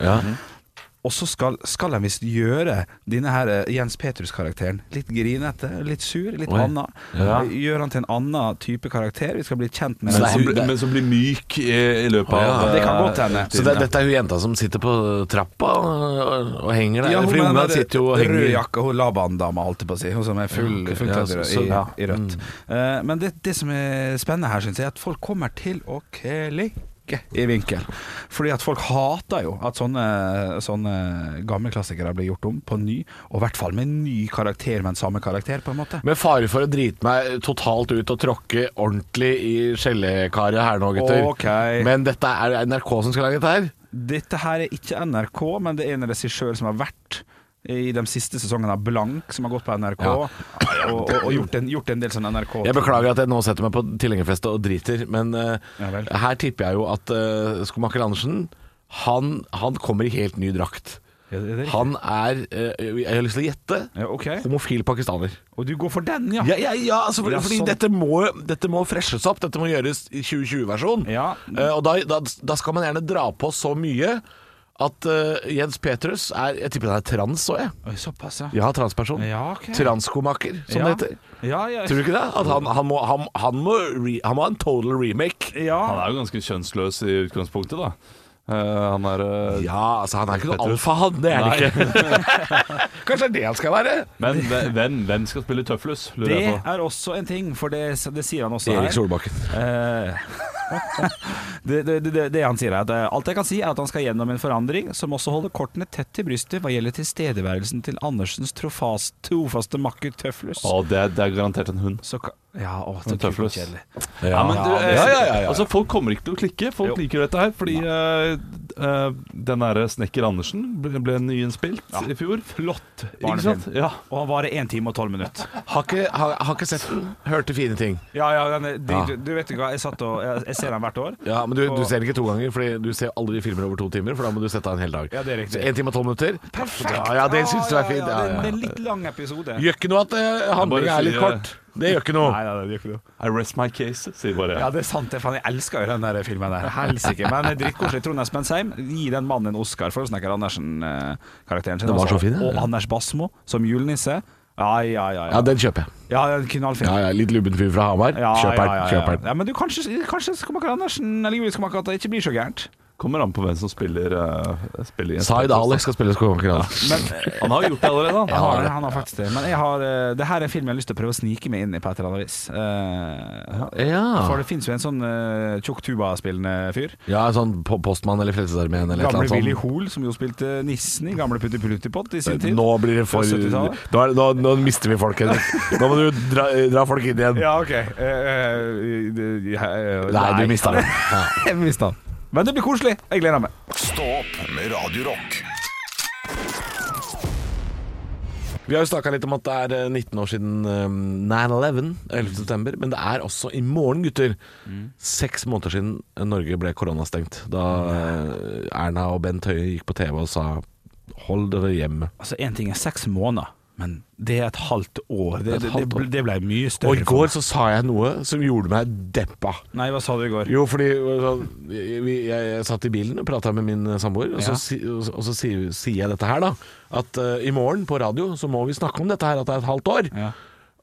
[SPEAKER 4] Og så skal, skal de visst gjøre denne her eh, Jens Petrus-karakteren litt grinete, litt sur, litt
[SPEAKER 3] Oi.
[SPEAKER 4] anna. Gjøre han til en annen type karakter. Vi skal bli kjent med
[SPEAKER 3] Så
[SPEAKER 5] Men
[SPEAKER 3] det er-
[SPEAKER 5] som,
[SPEAKER 3] det-
[SPEAKER 5] blir- men som blir myk i, i løpet
[SPEAKER 3] Å, ja.
[SPEAKER 5] av eh,
[SPEAKER 4] Det kan godt hende.
[SPEAKER 3] Så det, dette er hun jenta som sitter på trappa og, og, og henger der?
[SPEAKER 4] Ja,
[SPEAKER 3] Fordi
[SPEAKER 4] med den
[SPEAKER 3] ungene
[SPEAKER 4] der
[SPEAKER 3] sitter jo og henger
[SPEAKER 4] Rød jakke, hun Laban-dama, holdt jeg på å si. Hun som er full,
[SPEAKER 3] Ja, ok.
[SPEAKER 4] fullt
[SPEAKER 3] Ja,
[SPEAKER 4] kledd i,
[SPEAKER 3] så- så- ja. Mm.
[SPEAKER 4] i- i rødt. Eh, men det, det som er spennende her, syns jeg, er at folk kommer til å klikke i vinkel. Fordi at folk hater jo at sånne, sånne gamle klassikere blir gjort om på ny, og i hvert fall med ny karakter, men samme karakter, på en måte.
[SPEAKER 3] Med fare for å drite meg totalt ut og tråkke ordentlig i skjellekaret her nå, gutter.
[SPEAKER 4] Ok.
[SPEAKER 3] Men dette er er NRK som skal lage dette her?
[SPEAKER 4] Dette her er ikke NRK, men det er en regissør som har vært i de siste sesongene av Blank, som har gått på NRK,
[SPEAKER 3] Ja.
[SPEAKER 4] og, og, og gjort, en, gjort en del sånn NRK.
[SPEAKER 3] Jeg beklager at jeg nå setter meg på tilhengerfestet og driter, men eh,
[SPEAKER 4] Ja vel.
[SPEAKER 3] her tipper jeg jo at eh, skomaker Andersen han, han kommer i helt ny drakt.
[SPEAKER 4] Er det riktig?
[SPEAKER 3] Han er eh, Jeg har lyst til å gjette.
[SPEAKER 4] Ja, ok.
[SPEAKER 3] Homofil pakistaner.
[SPEAKER 4] Og du går for den, ja?
[SPEAKER 3] Ja, ja, ja altså, for,
[SPEAKER 4] Ja,
[SPEAKER 3] fordi
[SPEAKER 4] sånn.
[SPEAKER 3] dette må, dette må freshes opp. Dette må gjøres i 2020-versjon.
[SPEAKER 4] Ja.
[SPEAKER 3] Eh, og da, da, da skal man gjerne dra på så mye at eh, Jens Petrus er Jeg tipper han er trans òg, jeg.
[SPEAKER 4] Oi, Såpass, ja.
[SPEAKER 3] Ja, transperson.
[SPEAKER 4] Ja, ok.
[SPEAKER 3] Transkomaker, som
[SPEAKER 4] Ja.
[SPEAKER 3] det heter.
[SPEAKER 4] Ja, ja.
[SPEAKER 3] Tror du ikke det? At han, han, må, han, han, må re, han må ha en total remake.
[SPEAKER 5] Han
[SPEAKER 4] Ja.
[SPEAKER 5] er jo ganske kjønnsløs i utgangspunktet, da. Eh, han er eh,
[SPEAKER 3] Ja, altså han er ikke noe
[SPEAKER 5] Petrus.
[SPEAKER 3] alfahann, det er han
[SPEAKER 5] Nei.
[SPEAKER 3] ikke. Kanskje det er det han skal være?
[SPEAKER 5] Men hve- hvem, hvem skal spille tøflus, lurer
[SPEAKER 4] Det
[SPEAKER 5] jeg på.
[SPEAKER 4] er også en ting, for det, det sier han også
[SPEAKER 3] Erik
[SPEAKER 4] her.
[SPEAKER 3] Solbakken.
[SPEAKER 4] Eh, det, det, det, det han sier er at eh, alt jeg kan si er at han skal gjennom en forandring som også holder kortene tett til brystet hva gjelder tilstedeværelsen til Andersens trofast, trofaste makker Tøflus.
[SPEAKER 5] Å, det, er- det er garantert en hund.
[SPEAKER 4] Så, ka- ja, å, så
[SPEAKER 5] Men
[SPEAKER 4] kult
[SPEAKER 5] Tøflus.
[SPEAKER 4] og kjedelig.
[SPEAKER 3] Ja,
[SPEAKER 5] Ja, men du, eh,
[SPEAKER 3] ja, ja, ja, ja.
[SPEAKER 5] Altså, folk kommer ikke til å klikke. Folk liker jo dette her. Fordi eh, eh, den derre Snekker Andersen ble, ble nyinnspilt i fjor. Flott Ikke
[SPEAKER 4] barnefilm.
[SPEAKER 5] sant? Ja.
[SPEAKER 4] Og han varer 1 time og 12 minutter.
[SPEAKER 3] Har ikke, har, har ikke sett den. Hørte fine ting.
[SPEAKER 4] Ja, ja, den, er- de,
[SPEAKER 3] Ja.
[SPEAKER 4] Du, du vet ikke hva, jeg, satt og, jeg, jeg ser han hvert år.
[SPEAKER 3] Ja, Men du, du ser den ikke to ganger, Fordi du ser aldri filmer over to timer. For da må du sette av en hel dag.
[SPEAKER 4] Ja, det er riktig.
[SPEAKER 3] Så En time og tolv minutter.
[SPEAKER 4] Perfekt!
[SPEAKER 3] Ja, ja, det syns du er fint.
[SPEAKER 4] Ja,
[SPEAKER 3] Ja, ja,
[SPEAKER 4] det, det er en
[SPEAKER 3] ja.
[SPEAKER 4] litt lang episode.
[SPEAKER 3] Gjør ikke noe at eh, handlinga
[SPEAKER 5] bare
[SPEAKER 3] er litt
[SPEAKER 5] sier-
[SPEAKER 3] kort. Det gjør ikke noe.
[SPEAKER 4] Nei, nei, det gjør ikke noe.
[SPEAKER 5] I rest my case, sier bare
[SPEAKER 4] Ja,
[SPEAKER 5] jeg.
[SPEAKER 4] det er sant. det, Faen, jeg elsker jo den der filmen der. Helsike. Men drittkoselig. Trond Espen Seim, gi den mannen en Oscar for Snekker Andersen-karakteren eh, sin. altså.
[SPEAKER 3] Den var så fin, ja.
[SPEAKER 4] Og Anders Basmo som julenisse. Ja, ja, ja.
[SPEAKER 3] Ja,
[SPEAKER 4] Ja,
[SPEAKER 3] den kjøper jeg.
[SPEAKER 4] ja det er en knallfilm.
[SPEAKER 3] Ja, ja, Litt lubben fyr fra Hamar.
[SPEAKER 4] Ja,
[SPEAKER 3] Kjøper
[SPEAKER 4] ja,
[SPEAKER 3] den.
[SPEAKER 4] ja, ja.
[SPEAKER 3] Kjøper den.
[SPEAKER 4] Ja, men du, kanskje, kanskje Skomaker Andersen eller Julie Skomaker at det ikke blir så gærent.
[SPEAKER 5] Kommer an på hvem som spiller, uh, spiller Jens
[SPEAKER 3] Zaid
[SPEAKER 5] Petrus,
[SPEAKER 3] Alex skal spille konkurranse.
[SPEAKER 4] Men
[SPEAKER 5] Han har gjort det allerede, han.
[SPEAKER 4] han har, han har faktisk det. Men jeg har, eh, det her er en film jeg har lyst til å prøve å snike meg inn i på et eller annet vis. Eh, For
[SPEAKER 3] Ja.
[SPEAKER 4] det fins jo en sånn eh, tjukk tuba-spillende fyr.
[SPEAKER 3] ja, sånn po- Postmann eller Frelsesarmeen eller et
[SPEAKER 4] Gamle
[SPEAKER 3] eller
[SPEAKER 4] Willy
[SPEAKER 3] annet sånn. sånt.
[SPEAKER 4] Hoel, som jo spilte nissen i gamle Putti Pluttipott i sin tid.
[SPEAKER 3] Nå blir det for
[SPEAKER 4] Fra
[SPEAKER 3] nå,
[SPEAKER 4] 70-tallet.
[SPEAKER 3] er det- nå, nå mister vi folk, Henrik. Nå må du dra, dra folk inn igjen.
[SPEAKER 4] Ja, ok. Eh, eh, eh, eh,
[SPEAKER 3] Nei, du mista den. Ja.
[SPEAKER 4] Jeg mistet den. Men det blir koselig. Jeg gleder meg.
[SPEAKER 1] Stå opp med Radio Rock.
[SPEAKER 3] Vi har jo snakka litt om at det er eh, 19 år siden um, 9-11, 11. september. Men det er også i morgen, gutter. Mm. Seks måneder siden Norge ble koronastengt. Da eh, Erna og Bent Høie gikk på TV og sa Hold dere hjemme.
[SPEAKER 4] Altså, Én ting er seks måneder, men det er et halvt år. Det,
[SPEAKER 3] Det er et
[SPEAKER 4] det,
[SPEAKER 3] halvt
[SPEAKER 4] det,
[SPEAKER 3] år.
[SPEAKER 4] ble- det ble mye større.
[SPEAKER 3] Og i går så sa jeg noe som gjorde meg deppa.
[SPEAKER 4] for meg. Nei, hva sa du i går?
[SPEAKER 3] Jo, fordi eh, vi, jeg, jeg satt i bilen og prata med min eh, samboer, og så,
[SPEAKER 4] Ja.
[SPEAKER 3] si, og så, og så sier, sier jeg dette her, da. At eh, i morgen på radio så må vi snakke om dette her, at det er et halvt år.
[SPEAKER 4] Ja.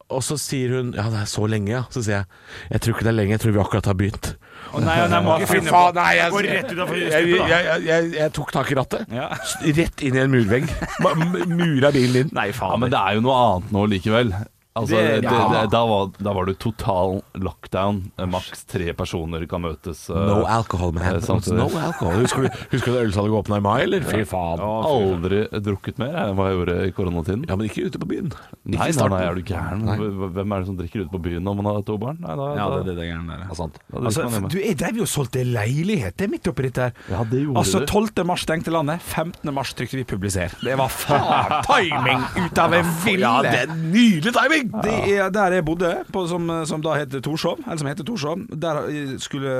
[SPEAKER 3] Og så sier hun Ja, det er så lenge, ja. Så sier jeg Jeg tror ikke det er lenge, jeg tror vi akkurat har begynt.
[SPEAKER 4] Å, nei, nei, må ikke
[SPEAKER 3] Fy
[SPEAKER 4] finne på
[SPEAKER 3] faen, nei, jeg,
[SPEAKER 4] Gå rett utenfor
[SPEAKER 3] jeg, jeg,
[SPEAKER 4] stupet, da.
[SPEAKER 3] jeg, jeg, jeg tok tak i rattet.
[SPEAKER 4] Ja.
[SPEAKER 3] S- Rett inn i en murvegg. Ma- m- Mura bilen inn.
[SPEAKER 4] Nei,
[SPEAKER 5] Ja,
[SPEAKER 4] faen.
[SPEAKER 5] men det er jo noe annet nå likevel. Altså, det,
[SPEAKER 4] Det-
[SPEAKER 5] det,
[SPEAKER 4] ja.
[SPEAKER 5] da, var, da var det total lockdown. Eh, Maks tre personer kan møtes. eh,
[SPEAKER 3] No alcohol, man.
[SPEAKER 5] det er sant, det.
[SPEAKER 3] No alcohol. Husker du, husker du da ølsalget åpna i mai, eller? Fy faen.
[SPEAKER 5] Aldri drukket mer enn hva jeg gjorde i koronatiden.
[SPEAKER 3] Ja, men ikke ute på byen. Ikke i
[SPEAKER 5] Nei, nei,
[SPEAKER 3] starten.
[SPEAKER 5] nei, er du gæren?
[SPEAKER 3] Nei.
[SPEAKER 5] Hv- Hvem er det som drikker ute på byen når man har to barn? Nei, da,
[SPEAKER 4] Ja,
[SPEAKER 5] da-
[SPEAKER 4] det, det, det er greiene der.
[SPEAKER 3] Ja, sant.
[SPEAKER 5] da drikker
[SPEAKER 4] Altså,
[SPEAKER 5] man hjemme.
[SPEAKER 4] du, jeg drev jo og solgte leilighet, det er midt oppi dette her.
[SPEAKER 5] Ja, det gjorde
[SPEAKER 4] altså,
[SPEAKER 5] du.
[SPEAKER 4] 12. mars stengte landet, 15. mars trykte vi 'publiser'. Det var faen timing ut av en ville!
[SPEAKER 3] Ja, det er nydelig timing!
[SPEAKER 4] Det er der jeg bodde, på, som, som da het Torshov, eller som heter Torshov. Der skulle,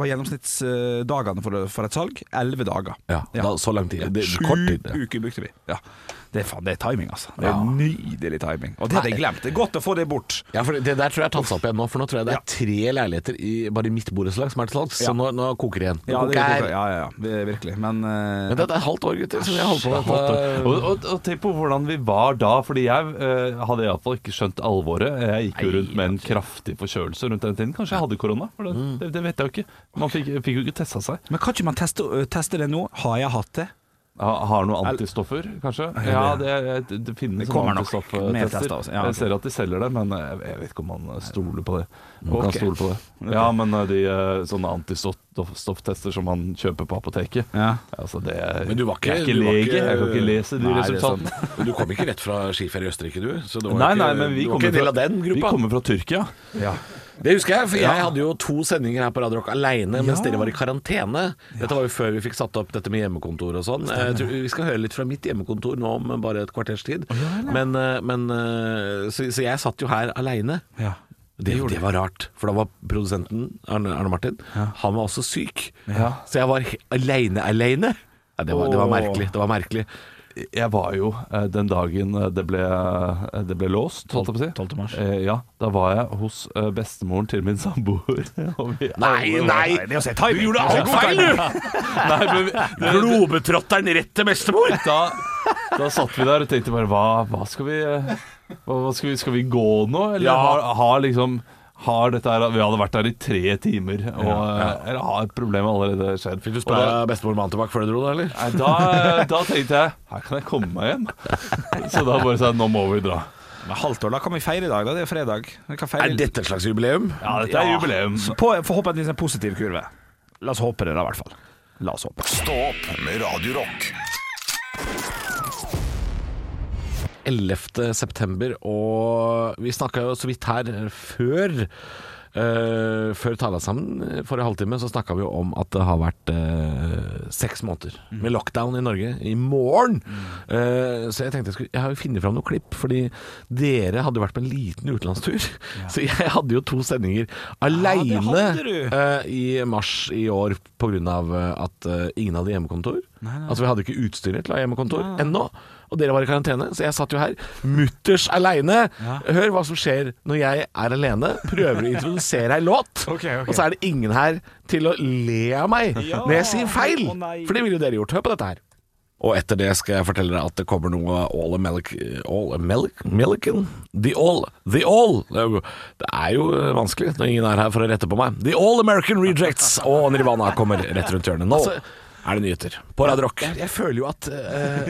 [SPEAKER 4] var gjennomsnittsdagene for, for et salg elleve dager.
[SPEAKER 3] Ja, da, så lang tid. Det,
[SPEAKER 4] Sju
[SPEAKER 3] kort tid. ja.
[SPEAKER 4] uker brukte vi. Ja. Det, er faen, det er timing, altså. Det er
[SPEAKER 3] Ja.
[SPEAKER 4] Nydelig timing. Og det hadde jeg glemt. Det er godt å få det bort.
[SPEAKER 3] Ja, for Det der tror jeg er tatt seg opp igjen nå, for nå tror jeg det er tre leiligheter i, bare i mitt borettslag som er til salgs.
[SPEAKER 4] Ja.
[SPEAKER 3] Så nå, nå koker det igjen. Nå
[SPEAKER 4] Ja, det,
[SPEAKER 3] koker.
[SPEAKER 4] ja, ja, ja. Det er virkelig. Men, eh,
[SPEAKER 3] Men det er et halvt år, gutter, så vi holder på
[SPEAKER 5] Halvt år. Og, og, og tenk på hvordan vi var da, fordi jeg eh, hadde iallfall ikke skjønt alvoret. Jeg gikk jo rundt med en kraftig forkjølelse rundt den tiden. Kanskje jeg hadde korona? For det, det, det vet jeg jo ikke. Man fikk, fikk jo ikke testa seg.
[SPEAKER 4] men kan ikke man teste, ø, teste det nå? Har jeg hatt det?
[SPEAKER 5] Ha, har noen antistoffer, kanskje? Ja, det, det, det finnes
[SPEAKER 4] Det kommer nok mer
[SPEAKER 5] antistofftester.
[SPEAKER 4] tester også. Ja, ok.
[SPEAKER 5] Jeg ser at de selger det, men jeg, jeg vet ikke om man stoler på det. Om man
[SPEAKER 4] Ok.
[SPEAKER 5] stoler på det. Ja, men eh, de eh, sånne antistofftester som man kjøper på apoteket
[SPEAKER 4] Ja.
[SPEAKER 5] altså det,
[SPEAKER 3] Men du var ikke,
[SPEAKER 5] Jeg er ikke
[SPEAKER 3] du var
[SPEAKER 5] lege, jeg kan ikke lese de
[SPEAKER 3] Nei, det er
[SPEAKER 5] resultatene.
[SPEAKER 3] sant. Men Du kom ikke rett fra skiferie i Østerrike, du? Så det var
[SPEAKER 5] Nei,
[SPEAKER 3] ikke,
[SPEAKER 5] nei, men vi
[SPEAKER 3] du var
[SPEAKER 5] kommer
[SPEAKER 3] ikke en del av
[SPEAKER 5] fra-
[SPEAKER 3] den
[SPEAKER 5] Vi
[SPEAKER 3] gruppa?
[SPEAKER 5] kommer fra Tyrkia.
[SPEAKER 3] Det husker jeg, for jeg hadde jo to sendinger her på Radio Rock aleine mens
[SPEAKER 4] Ja.
[SPEAKER 3] dere var i karantene. Dette var jo før vi fikk satt opp dette med hjemmekontor og sånn. Jeg tror Vi skal høre litt fra mitt hjemmekontor nå om bare et kvarters tid. Men, eh, men eh, så, så jeg satt jo her aleine.
[SPEAKER 4] Ja.
[SPEAKER 3] Det, det var rart, for da var produsenten Arne, Arne Martin Han var også syk
[SPEAKER 4] Ja.
[SPEAKER 3] Så jeg var aleine, aleine Nei, det, var, det var merkelig. Det var merkelig.
[SPEAKER 5] Jeg var jo eh, den dagen eh, det ble, eh, det ble låst, holdt jeg på å si.
[SPEAKER 4] 12. mars.
[SPEAKER 5] Eh, Ja, da var jeg hos eh, bestemoren til min samboer. og vi
[SPEAKER 3] Nei,
[SPEAKER 5] alle var-
[SPEAKER 3] nei!
[SPEAKER 4] Det er å si timing.
[SPEAKER 3] Du gjorde alt feil, du!
[SPEAKER 5] Nei, men vi, det,
[SPEAKER 3] Globetrotteren rett til bestemor!
[SPEAKER 5] da, da satt vi der og tenkte bare Hva, hva skal vi eh, hva, hva skal vi, skal vi gå nå? Eller
[SPEAKER 3] Ja.
[SPEAKER 5] har, har liksom har dette her, Vi hadde vært der i tre timer, og, eh, eller har et problem allerede skjedd.
[SPEAKER 3] Fikk du
[SPEAKER 5] Og da-
[SPEAKER 3] spørre bestemor mannen tilbake før du dro, da, eller?
[SPEAKER 5] Nei, da, eh, da tenkte jeg her kan jeg komme meg hjem. Så da bare sa jeg nå må vi dra.
[SPEAKER 4] Men halvt år, da kan vi feire i dag. da Det er jo fredag. Vi kan feire
[SPEAKER 3] Er dette et slags jubileum?
[SPEAKER 5] Ja, dette er jubileum.
[SPEAKER 4] Så På forhåpentligvis en positiv kurve. La oss håpe det, da, i hvert fall. La oss håpe.
[SPEAKER 1] Stå opp med Radio Rock.
[SPEAKER 3] 11. september, og vi snakka jo så vidt her før. eh, før tala sammen eh, forrige halvtime så snakka vi jo om at det har vært eh, seks måneder
[SPEAKER 4] Mm.
[SPEAKER 3] med lockdown i Norge i morgen. Eh, så jeg tenkte jeg skulle Jeg har jo funnet fram noen klipp, fordi dere hadde jo vært på en liten utenlandstur. Så jeg hadde jo to sendinger aleine
[SPEAKER 4] hadde du.
[SPEAKER 3] Eh, i mars i år pga. at eh, ingen hadde hjemmekontor. Altså vi hadde ikke utstyret til å ha hjemmekontor ennå. Og dere var i karantene, så jeg satt jo her mutters aleine. Hør hva som skjer når jeg er alene, prøver å introdusere ei låt,
[SPEAKER 4] Ok, ok.
[SPEAKER 3] og så er det ingen her til å le av meg når jeg sier feil!
[SPEAKER 4] Å, nei.
[SPEAKER 3] For det ville jo dere gjort. Hør på dette her. Og etter det skal jeg fortelle deg at det kommer noe All American All American? The All The All Det er jo- det er jo eh, vanskelig når ingen er her for å rette på meg. The All American Rejects og Nirvana kommer rett rundt hjørnet. Nå er det nyheter på Radio Rock. Altså- Jeg, føler jo at,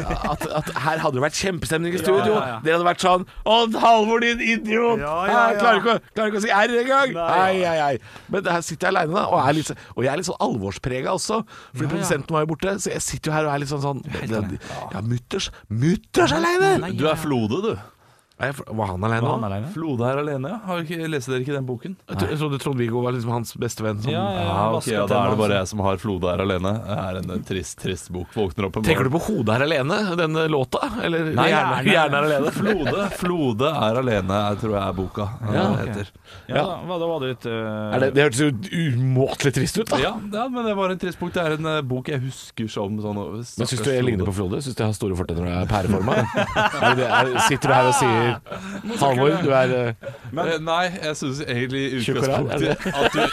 [SPEAKER 3] her hadde det vært kjempestemning i studio. Dere hadde vært sånn Odd Halvor, din idiot! Jeg klarer, ikke, å- klarer ikke å si R engang! Ai, ai, ai. Men her sitter jeg aleine, da. Og, er litt, så- og jeg er litt sånn alvorsprega også, fordi produsenten var jo borte. Så jeg sitter jo her og er litt sånn sånn Ja, mutters Mutters aleine!
[SPEAKER 5] Du er Flode, du.
[SPEAKER 3] Var han aleine nå?
[SPEAKER 5] Flode er alene, ja. Har ikke, leser dere ikke den boken?
[SPEAKER 3] Jeg tro- jeg trodde Trond-Viggo var liksom hans beste venn. Sånn.
[SPEAKER 5] Ja, ok, ja, Da er det bare jeg som har Flode er alene. Det er en eh, trist, trist bok. Våkner opp en
[SPEAKER 3] Tenker du på
[SPEAKER 5] morgen
[SPEAKER 3] 'Hodet er alene', denne låta? Eller
[SPEAKER 5] Nei,
[SPEAKER 3] hjernen,
[SPEAKER 5] nei, nei.
[SPEAKER 3] hjernen er alene?
[SPEAKER 5] Flode, Flode er alene, jeg tror jeg er boka. Ja,
[SPEAKER 3] Ja,
[SPEAKER 5] det
[SPEAKER 3] ok.
[SPEAKER 5] heter.
[SPEAKER 4] Ja, da, hva- da var det litt eh,
[SPEAKER 3] Er det, det hørtes jo umåtelig trist ut, da.
[SPEAKER 5] ja, ja, men det var en trist bok. Det er en eh, bok jeg husker som sånn
[SPEAKER 3] Men Syns du jeg ligner på Flode? Syns du jeg har store fortenner og er pæreforma? Er det- er- sitter du her og sier 'Halvor, du er eh,
[SPEAKER 5] Eh, Nei, jeg syns egentlig i
[SPEAKER 3] Tjukk og rar, er
[SPEAKER 5] utgangspunktet at du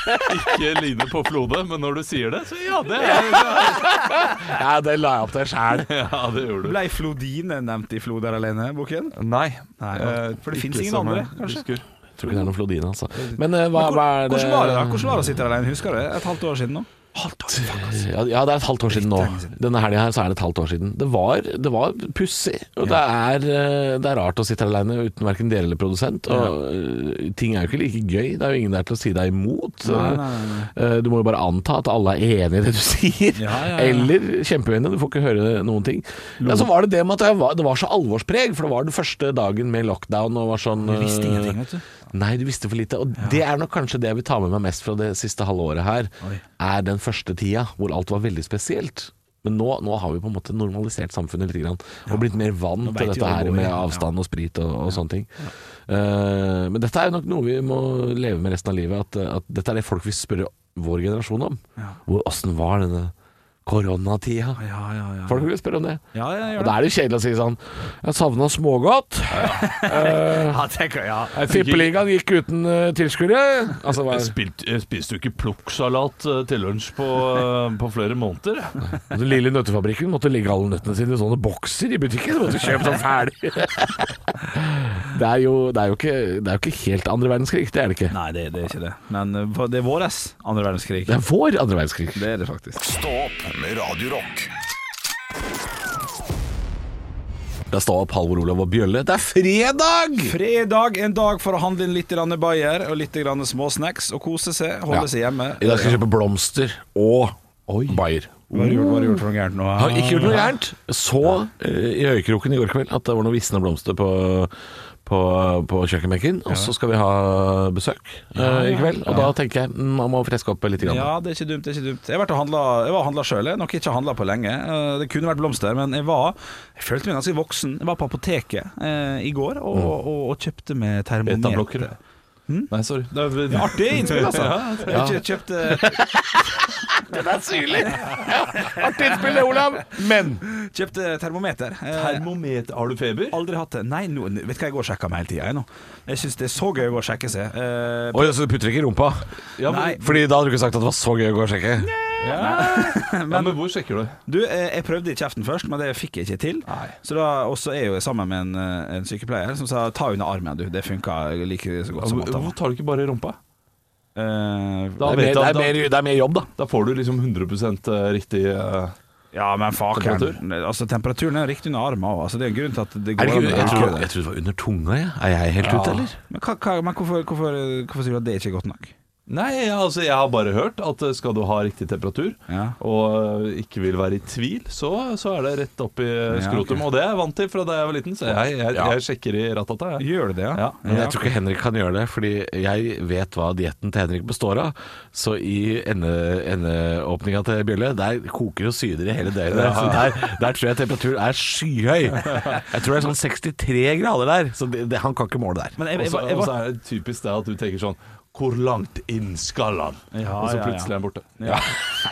[SPEAKER 5] ikke ligner på Flode, men når du sier det, så ja, det er
[SPEAKER 3] Ja, det la jeg opp til sjæl.
[SPEAKER 5] Ja, det gjorde du.
[SPEAKER 4] Ble Flodine nevnt i Flod er alene-boken?
[SPEAKER 5] Nei.
[SPEAKER 4] Eh, for det finnes ingen andre, kanskje?
[SPEAKER 3] Tror ikke det er noen Flodine, altså. Men eh, hva, hva er det
[SPEAKER 4] Hvordan var det da? Hvordan var det å sitte alene? Husker du det? Et halvt år siden nå? altså.
[SPEAKER 3] Ja, ja, det er et halvt år siden nå. Denne helga her så er det et halvt år siden. Det var, det var pussig. Og det, er, eh, det er rart å sitte alene uten verken dere eller produsent. Og eh, ting er jo ikke like gøy. Det er jo ingen der til å si deg imot. Eh, Du må jo bare anta at alle er enig i det du sier.
[SPEAKER 4] Ja, ja, ja.
[SPEAKER 3] Eller kjempeuenige. Du får ikke høre noen ting. Ja, så var det det med at jeg var, det var så alvorspreg, for det var den første dagen med lockdown og var sånn
[SPEAKER 4] Jeg visste
[SPEAKER 3] eh,
[SPEAKER 4] ingenting, vet du.
[SPEAKER 3] Nei, du visste for lite. Og det er nok kanskje det jeg vil ta med meg mest fra det siste halve året her,
[SPEAKER 4] Oi.
[SPEAKER 3] er den første tida hvor alt var veldig spesielt. Men nå, nå har vi på en måte normalisert samfunnet litt grann, og blitt mer vant
[SPEAKER 4] Nå
[SPEAKER 3] til
[SPEAKER 4] vet
[SPEAKER 3] dette
[SPEAKER 4] vi hva
[SPEAKER 3] her
[SPEAKER 4] det går i,
[SPEAKER 3] med
[SPEAKER 4] ja.
[SPEAKER 3] avstand og sprit og, og sånne ting. Eh, men dette er jo nok noe vi må leve med resten av livet, at, at dette er det folk vil spørre vår generasjon om. Hvor- Åssen var denne koronatida?
[SPEAKER 4] Ja, ja, ja.
[SPEAKER 3] Folk vil spørre om det.
[SPEAKER 4] Ja, ja,
[SPEAKER 3] Og
[SPEAKER 4] gjør det.
[SPEAKER 3] da er det jo kjedelig å si sånn Jeg savna smågodt.
[SPEAKER 4] Ja, tenker jeg, ja.
[SPEAKER 3] Tippeligaen gikk uten uh, tilskuere. Altså, hva-
[SPEAKER 5] Spiste du ikke plukksalat eh, til lunsj på, eh, på flere måneder? jeg?
[SPEAKER 3] Den lille nøttefabrikken måtte legge alle nøttene sine i sånne bokser i butikken. Måtte kjøpe sånn ferdig. det, er jo, det, er jo ikke, det er jo ikke helt andre verdenskrig, det er det ikke.
[SPEAKER 4] Nei, det, det er ikke det. Men eh, for- det er våres andre verdenskrig.
[SPEAKER 3] Det er vår andre verdenskrig.
[SPEAKER 4] Det er det faktisk.
[SPEAKER 1] Stå opp med Radio Rock.
[SPEAKER 3] Da står opp Halvor Olav og Bjølle. Det er fredag!
[SPEAKER 4] Fredag, en dag for å handle inn litt grann bayer og litt grann småsnacks og kose seg. Holde
[SPEAKER 3] Ja.
[SPEAKER 4] seg hjemme.
[SPEAKER 3] I dag skal jeg kjøpe blomster og bayer.
[SPEAKER 4] Hva har du gjort, hva har du gjort for noe gærent nå?
[SPEAKER 3] Jeg har ikke gjort noe gærent. Så eh, i øyekroken i går kveld at det var noen visne blomster på, på, på kjøkkenbenken. Og så skal vi ha besøk eh, i kveld, og da tenker jeg mm, man må freske opp litt. Grann.
[SPEAKER 4] Ja, det er ikke dumt. det er ikke dumt Jeg, har vært og handla, jeg var og handla sjøl, noe jeg ikke har handla på lenge. Eh, Det kunne vært blomster, men jeg var Jeg følte meg ganske
[SPEAKER 3] Mm.
[SPEAKER 4] voksen. Jeg var på apoteket eh, i går og, og, og kjøpte med termometer.
[SPEAKER 5] Beta-blokkere. Hm? Nei, sorry. Det er,
[SPEAKER 4] Artig innspill, altså. Jeg kjø- kjøpte,
[SPEAKER 3] Den er syrlig! Artig innspill, Olav. Men
[SPEAKER 4] kjøpte termometer. Eh,
[SPEAKER 5] Termometer Har du feber?
[SPEAKER 4] Aldri hatt det. Nei, nå, vet du hva jeg går og sjekker meg hele tida, jeg nå. Jeg syns det er så gøy å gå og sjekke seg. Eh,
[SPEAKER 3] Oi, altså, du putter ikke i rumpa?
[SPEAKER 5] Ja, men,
[SPEAKER 4] Nei.
[SPEAKER 3] Fordi da hadde du ikke sagt at det var så gøy å gå og sjekke.
[SPEAKER 5] ja, men hvor sjekker du?
[SPEAKER 4] Du, eh, jeg prøvde i kjeften først, men det fikk jeg ikke til.
[SPEAKER 5] Nei.
[SPEAKER 4] Så da, og så er jeg jo sammen med en, eh, en sykepleier som sa ta under armen, du. Det funka like så godt som Eh, at
[SPEAKER 5] Hvorfor tar du ikke bare i rumpa?
[SPEAKER 4] han
[SPEAKER 3] Det
[SPEAKER 5] Da,
[SPEAKER 3] er,
[SPEAKER 5] vet
[SPEAKER 3] mer, det,
[SPEAKER 5] han-
[SPEAKER 3] er mer, det er mer jobb, da.
[SPEAKER 5] da, da får du liksom 100 riktig eh,
[SPEAKER 4] Ja, men fakeren
[SPEAKER 5] Temperatur?
[SPEAKER 4] altså, Temperaturen er riktig under armen òg. Altså, det er en grunn til at det går
[SPEAKER 3] Er det ikke,
[SPEAKER 4] an å-
[SPEAKER 3] jeg, tror,
[SPEAKER 4] Ja.
[SPEAKER 3] jeg tror det var under tunga, jeg. Er jeg helt ute, eller?
[SPEAKER 4] Men, hva, hva, men hvorfor, hvorfor, hvorfor sier du at det ikke er godt nok?
[SPEAKER 5] Nei, altså jeg har bare hørt at eh, skal du ha riktig temperatur
[SPEAKER 4] Ja.
[SPEAKER 5] og eh, ikke vil være i tvil, så, så er det rett opp i eh,
[SPEAKER 4] Ja,
[SPEAKER 5] skrotum.
[SPEAKER 4] ok.
[SPEAKER 5] Og det er jeg vant til fra da jeg var liten, så jeg, jeg,
[SPEAKER 3] Ja.
[SPEAKER 5] jeg sjekker i ratata. Jeg.
[SPEAKER 4] Gjør det det,
[SPEAKER 5] Ja,
[SPEAKER 3] Men jeg tror ikke Henrik kan gjøre det, fordi jeg vet hva dietten til Henrik består av. Så i ende, endeåpninga til Bjølle, der koker jo syder i hele døgnet. Så der, der tror jeg temperaturen er skyhøy. Jeg tror det er sånn 63 grader der, så det, det, han kan ikke måle der.
[SPEAKER 4] Men jeg,
[SPEAKER 5] Og
[SPEAKER 4] jeg,
[SPEAKER 5] så
[SPEAKER 4] jeg,
[SPEAKER 5] og så er det typisk det at du tenker sånn Hvor langt inn skal han?
[SPEAKER 4] Ja,
[SPEAKER 5] og så
[SPEAKER 4] ja, ja.
[SPEAKER 5] plutselig er han borte.
[SPEAKER 4] Ja.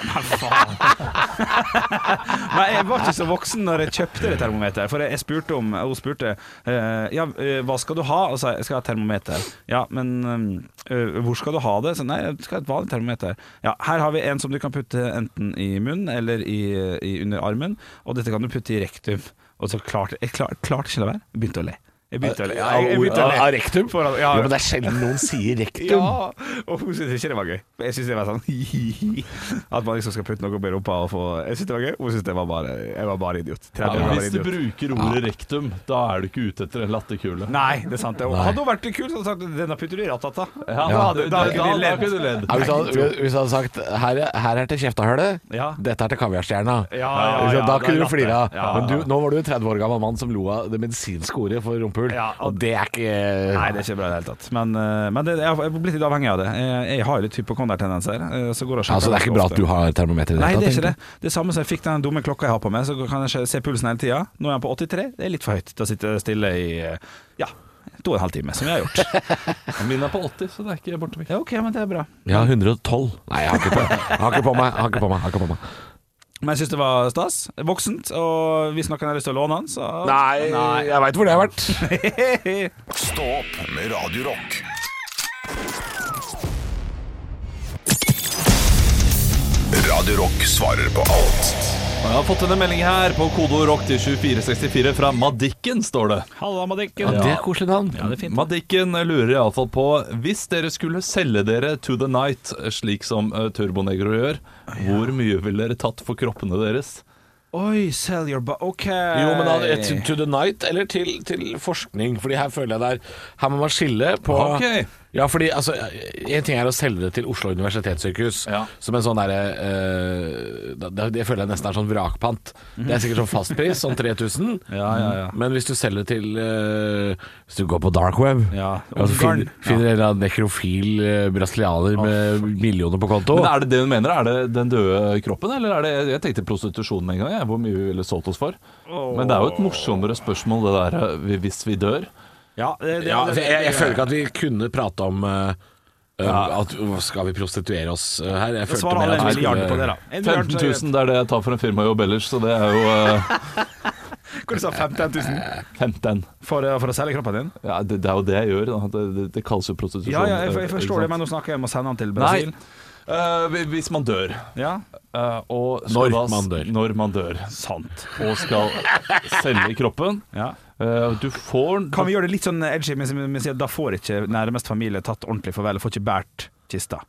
[SPEAKER 4] Men faen. Nei, jeg var ikke så voksen når jeg kjøpte det termometeret. For jeg, jeg spurte om Hun spurte eh, Ja, eh, hva skal du ha? Og sa jeg, jeg skal ha et termometer. Ja, men eh, hvor skal du ha det? Så nei, jeg skal ha et vanlig termometer. Ja, her har vi en som du kan putte enten i munnen eller i, i under armen. Og dette kan du putte i rektum. Og så klarte jeg klar, klarte ikke å la være. Jeg Begynte å le. Jeg begynte å le. Jeg, jeg begynte å le.
[SPEAKER 3] Av rektum?
[SPEAKER 4] Foran- ja.
[SPEAKER 3] Jo, men det er sjelden noen sier rektum.
[SPEAKER 4] Ja, og hun syntes ikke det var gøy. Jeg syntes det var sånn At man liksom skal putte noe opp i rumpa og få Jeg syntes det var gøy. Hun syntes det var bare Jeg var bare idiot.
[SPEAKER 5] Ja,
[SPEAKER 4] Tredje
[SPEAKER 5] men
[SPEAKER 4] gang var
[SPEAKER 5] hvis du
[SPEAKER 4] idiot.
[SPEAKER 5] bruker ordet rektum, da er du ikke ute etter en latterkule.
[SPEAKER 4] Nei, det er sant. Det. Hadde hun vært kul, så hadde hun sagt 'denne putter du i ratata'.
[SPEAKER 5] Ja,
[SPEAKER 4] da
[SPEAKER 5] da,
[SPEAKER 4] hadde
[SPEAKER 5] da,
[SPEAKER 4] da
[SPEAKER 5] da,
[SPEAKER 4] kunne vi ledd.
[SPEAKER 5] kunne du ledd.
[SPEAKER 3] Ja, hvis, han, hvis han hadde sagt her, er- 'her er til kjeftehølet',
[SPEAKER 4] Ja.
[SPEAKER 3] dette er til kaviarstjerna.
[SPEAKER 4] ja,
[SPEAKER 3] Ikke sant?
[SPEAKER 4] ja,
[SPEAKER 3] da
[SPEAKER 4] det er
[SPEAKER 3] kunne du
[SPEAKER 4] latter.
[SPEAKER 3] flire av.
[SPEAKER 4] Ja,
[SPEAKER 3] Men du, nå var du en 30 år gammel mann som lo av det medisinske ordet for rumpehull.
[SPEAKER 4] Ja, og-
[SPEAKER 3] og det er ikke
[SPEAKER 4] Nei, det er ikke bra i det hele tatt. Men, eh, men det, jeg har- jeg har blitt litt avhengig av det. Jeg, jeg har jo litt hypokondertendenser. eh, Så går jeg og sjekker
[SPEAKER 3] Altså, det er ikke bra at du har termometer i
[SPEAKER 4] Nei, det
[SPEAKER 3] tatt,
[SPEAKER 4] er ikke det. Det er samme som jeg fikk den dumme klokka jeg har på meg, så kan jeg se- se pulsen hele tida. Nå er den på 83. Det er litt for høyt til å sitte stille i eh, ja, to og en halv time, som jeg har gjort.
[SPEAKER 5] Min er på 80, så det er ikke borte vekk.
[SPEAKER 4] Ja, ok, men det er bra.
[SPEAKER 3] egentlig. Jeg har 112. Nei, jeg har ikke på, jeg har ikke på meg. Jeg har ikke på meg. Jeg har ikke på meg.
[SPEAKER 4] Men jeg syns det var stas. Voksent. Og hvis noen har lyst til å låne den, så
[SPEAKER 3] Nei, jeg veit hvor det har vært.
[SPEAKER 1] Stå opp med Radio Rock. Radio Rock svarer på alt.
[SPEAKER 5] Og Jeg har fått en melding her på kodeord rock til 2464 fra Madikken, står det.
[SPEAKER 4] Halla, Madikken.
[SPEAKER 3] Ja, det er koselig navn.
[SPEAKER 5] Madikken lurer iallfall på Hvis dere skulle selge dere to the night, slik som eh, Turbonegro gjør, hvor mye ville dere tatt for kroppene deres?
[SPEAKER 4] Oi, sell your ba... Ok.
[SPEAKER 3] Jo, men da,
[SPEAKER 4] Eh.
[SPEAKER 3] til, to the night eller til, til forskning? Fordi her føler jeg det er Her må man skille på
[SPEAKER 5] Ok.
[SPEAKER 3] Ja, fordi altså En ting er å selge det til Oslo universitetssykehus
[SPEAKER 5] Ja.
[SPEAKER 3] som en sånn derre eh, da- det, det føler jeg nesten er sånn vrakpant. Det er sikkert sånn fastpris, sånn 3000.
[SPEAKER 4] Ja, ja, ja.
[SPEAKER 3] Men hvis du selger det til eh, Hvis du går på dark web
[SPEAKER 4] Ja,
[SPEAKER 3] og
[SPEAKER 5] Altså,
[SPEAKER 3] så
[SPEAKER 4] Ungarn.
[SPEAKER 3] finner, finner en eller annen nekrofil eh, brasilianer med millioner på konto
[SPEAKER 5] Men Er det det hun mener? Er det den døde kroppen, eller er det Jeg tenkte prostitusjon med en gang, jeg. Hvor mye vi ville solgt oss for. Men det er jo et morsommere spørsmål, det der eh, vi- hvis vi dør.
[SPEAKER 4] Ja, det, det,
[SPEAKER 3] ja,
[SPEAKER 4] det-
[SPEAKER 3] altså, jeg, jeg føler ikke at vi kunne prate om eh, eh, at, øh, Skal vi prostituere oss eh, her? Jeg
[SPEAKER 4] det
[SPEAKER 3] følte
[SPEAKER 4] svarer
[SPEAKER 3] mer
[SPEAKER 4] alle
[SPEAKER 3] at
[SPEAKER 4] en
[SPEAKER 3] vi
[SPEAKER 4] milliard
[SPEAKER 3] skulle-
[SPEAKER 4] på det, da. En
[SPEAKER 5] 15
[SPEAKER 4] milliard, så er det
[SPEAKER 5] 000, det er det jeg tar for en firmajobb ellers, så det er jo eh,
[SPEAKER 4] greit. Hvor du sa 15 000
[SPEAKER 5] 15
[SPEAKER 4] for, eh, for å selge kroppen din?
[SPEAKER 5] ja, det, det er jo det jeg gjør. Da. Det, det, det kalles jo prostitusjon.
[SPEAKER 4] Ja, ja, jeg,
[SPEAKER 3] Sånn,
[SPEAKER 4] jeg
[SPEAKER 5] eh,
[SPEAKER 4] forstår det,
[SPEAKER 5] ikke sant?
[SPEAKER 4] men nå snakker jeg om å sende den til Brasil.
[SPEAKER 5] Nei. Eh, hvi- hvis man dør
[SPEAKER 4] Ja,
[SPEAKER 5] eh, og
[SPEAKER 3] Når
[SPEAKER 5] skal da s-
[SPEAKER 3] man dør.
[SPEAKER 5] Når man dør
[SPEAKER 4] sant.
[SPEAKER 5] og skal selge kroppen
[SPEAKER 4] Ja.
[SPEAKER 5] eh, Du får
[SPEAKER 4] Kan vi gjøre det litt sånn edgy, men men si at da får ikke nærmest familie tatt ordentlig farvel, og får ikke båret kista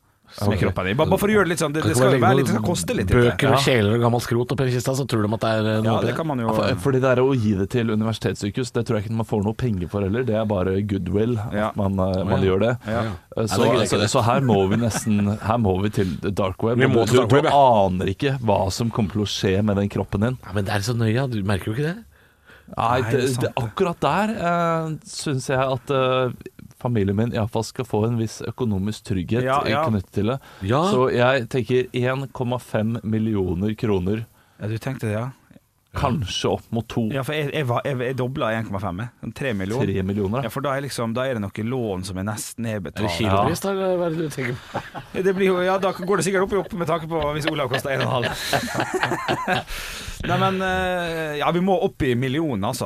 [SPEAKER 4] med kroppen i. Bare, bare for å gjøre det litt sånn, det,
[SPEAKER 3] Kan
[SPEAKER 4] det
[SPEAKER 3] ikke man
[SPEAKER 4] skal
[SPEAKER 3] legge
[SPEAKER 4] jo være
[SPEAKER 3] noen
[SPEAKER 4] litt, det skal koste litt.
[SPEAKER 3] Bøker og
[SPEAKER 4] dette.
[SPEAKER 3] kjeler og gammelt skrot oppi kista, så tror de at det er eh, noe
[SPEAKER 4] Ja,
[SPEAKER 3] oppi
[SPEAKER 4] det kan man jo
[SPEAKER 5] For- Fordi det er å gi det til universitetssykehus, det tror jeg ikke man får noe penger for heller. Det er bare goodwill
[SPEAKER 4] Ja.
[SPEAKER 5] at man, eh, man gjør det.
[SPEAKER 4] Ja.
[SPEAKER 5] Eh, Så,
[SPEAKER 3] Nei, det er ikke
[SPEAKER 5] så,
[SPEAKER 3] det.
[SPEAKER 5] så her må vi nesten Her må vi til dark web.
[SPEAKER 3] Vi må
[SPEAKER 5] Du-
[SPEAKER 3] til dark
[SPEAKER 5] du,
[SPEAKER 3] web,
[SPEAKER 5] du
[SPEAKER 3] ja.
[SPEAKER 5] aner ikke hva som kommer til å skje med den kroppen din.
[SPEAKER 3] Ja, men det er så nøye, ja. du merker jo ikke det?
[SPEAKER 4] Nei,
[SPEAKER 5] Nei, det,
[SPEAKER 4] det er sant,
[SPEAKER 5] det,
[SPEAKER 4] det.
[SPEAKER 5] akkurat der uh, syns jeg at eh, familien min iallfall skal få en viss økonomisk trygghet
[SPEAKER 4] Ja, ja.
[SPEAKER 5] knyttet til det.
[SPEAKER 3] Ja.
[SPEAKER 5] Så jeg tenker 1,5 millioner kroner.
[SPEAKER 4] Ja, du tenkte det, ja.
[SPEAKER 5] Kanskje opp mot to.
[SPEAKER 4] Ja, for jeg, jeg, var- jeg, jeg dobla 1,5. jeg. Sånn Tre millioner.
[SPEAKER 5] Tre millioner, ja.
[SPEAKER 4] ja. For da er, liksom, da er det noen lån som er nesten nedbetalt. Ja.
[SPEAKER 3] Kilopris, da? eller Hva er det du tenker på?
[SPEAKER 4] Det blir jo, ja, da går det sikkert opp i opp med tanke på hvis Olav koster 1,5. Nei, men eh, Ja, vi må opp i millionen, altså.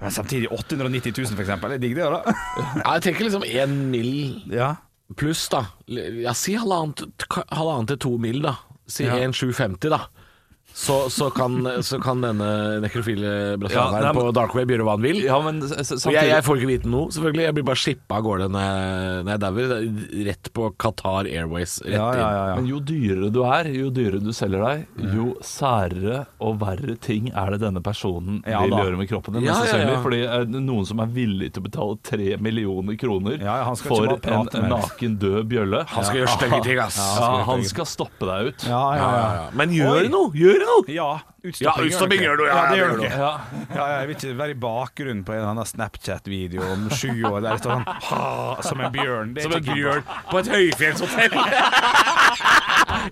[SPEAKER 4] Men samtidig 890 000, for eksempel. Det er digg, det, da.
[SPEAKER 3] Ja, jeg tenker liksom én mil
[SPEAKER 4] Ja.
[SPEAKER 3] pluss, da. Ja, si halvannen t- halvannen til to mil, da. Si
[SPEAKER 4] Ja.
[SPEAKER 3] 1750, da. Så, så, kan, så kan denne nekrofile brasilianeren
[SPEAKER 5] Ja, nei, men-
[SPEAKER 3] på dark web gjøre hva han vil.
[SPEAKER 5] Ja, men s- s-
[SPEAKER 3] Og Jeg,
[SPEAKER 5] samtidig
[SPEAKER 3] jeg får ikke vite noe, selvfølgelig. Jeg blir bare shippa av gårde når jeg, når jeg dauer. Rett på Qatar Airways. Rett
[SPEAKER 4] Ja, ja, ja,
[SPEAKER 5] Men
[SPEAKER 4] ja.
[SPEAKER 5] jo dyrere du er, jo dyrere du selger deg, jo særere og verre ting er det denne personen
[SPEAKER 4] Ja,
[SPEAKER 5] vil
[SPEAKER 4] da.
[SPEAKER 5] gjøre med kroppen din.
[SPEAKER 3] Ja,
[SPEAKER 5] mest
[SPEAKER 3] ja, ja.
[SPEAKER 5] sannsynlig, Fordi eh, noen som er villig til å betale tre millioner kroner
[SPEAKER 4] Ja, ja, han skal
[SPEAKER 5] for
[SPEAKER 4] ikke bare
[SPEAKER 5] en
[SPEAKER 4] prate med deg.
[SPEAKER 5] naken, død bjølle
[SPEAKER 3] Han skal gjøre stygge ting, ass.
[SPEAKER 5] Ja, han skal stoppe deg ut.
[SPEAKER 4] Ja, ja, ja.
[SPEAKER 3] Men gjør
[SPEAKER 4] Oi.
[SPEAKER 3] noe! Gjør noe!
[SPEAKER 4] Ja,
[SPEAKER 3] Ja,
[SPEAKER 4] utstopping
[SPEAKER 3] utstopping gjør du, ja,
[SPEAKER 4] Ja,
[SPEAKER 3] ja,
[SPEAKER 4] det gjør
[SPEAKER 3] det
[SPEAKER 4] du.
[SPEAKER 3] gjør
[SPEAKER 4] Ja, ja, jeg vil ikke være i bakgrunnen på en eller annen Snapchat-video om sju år der det står sånn ha, Som en bjørn. Det er ikke bjørn.
[SPEAKER 3] På et høyfjellshotell!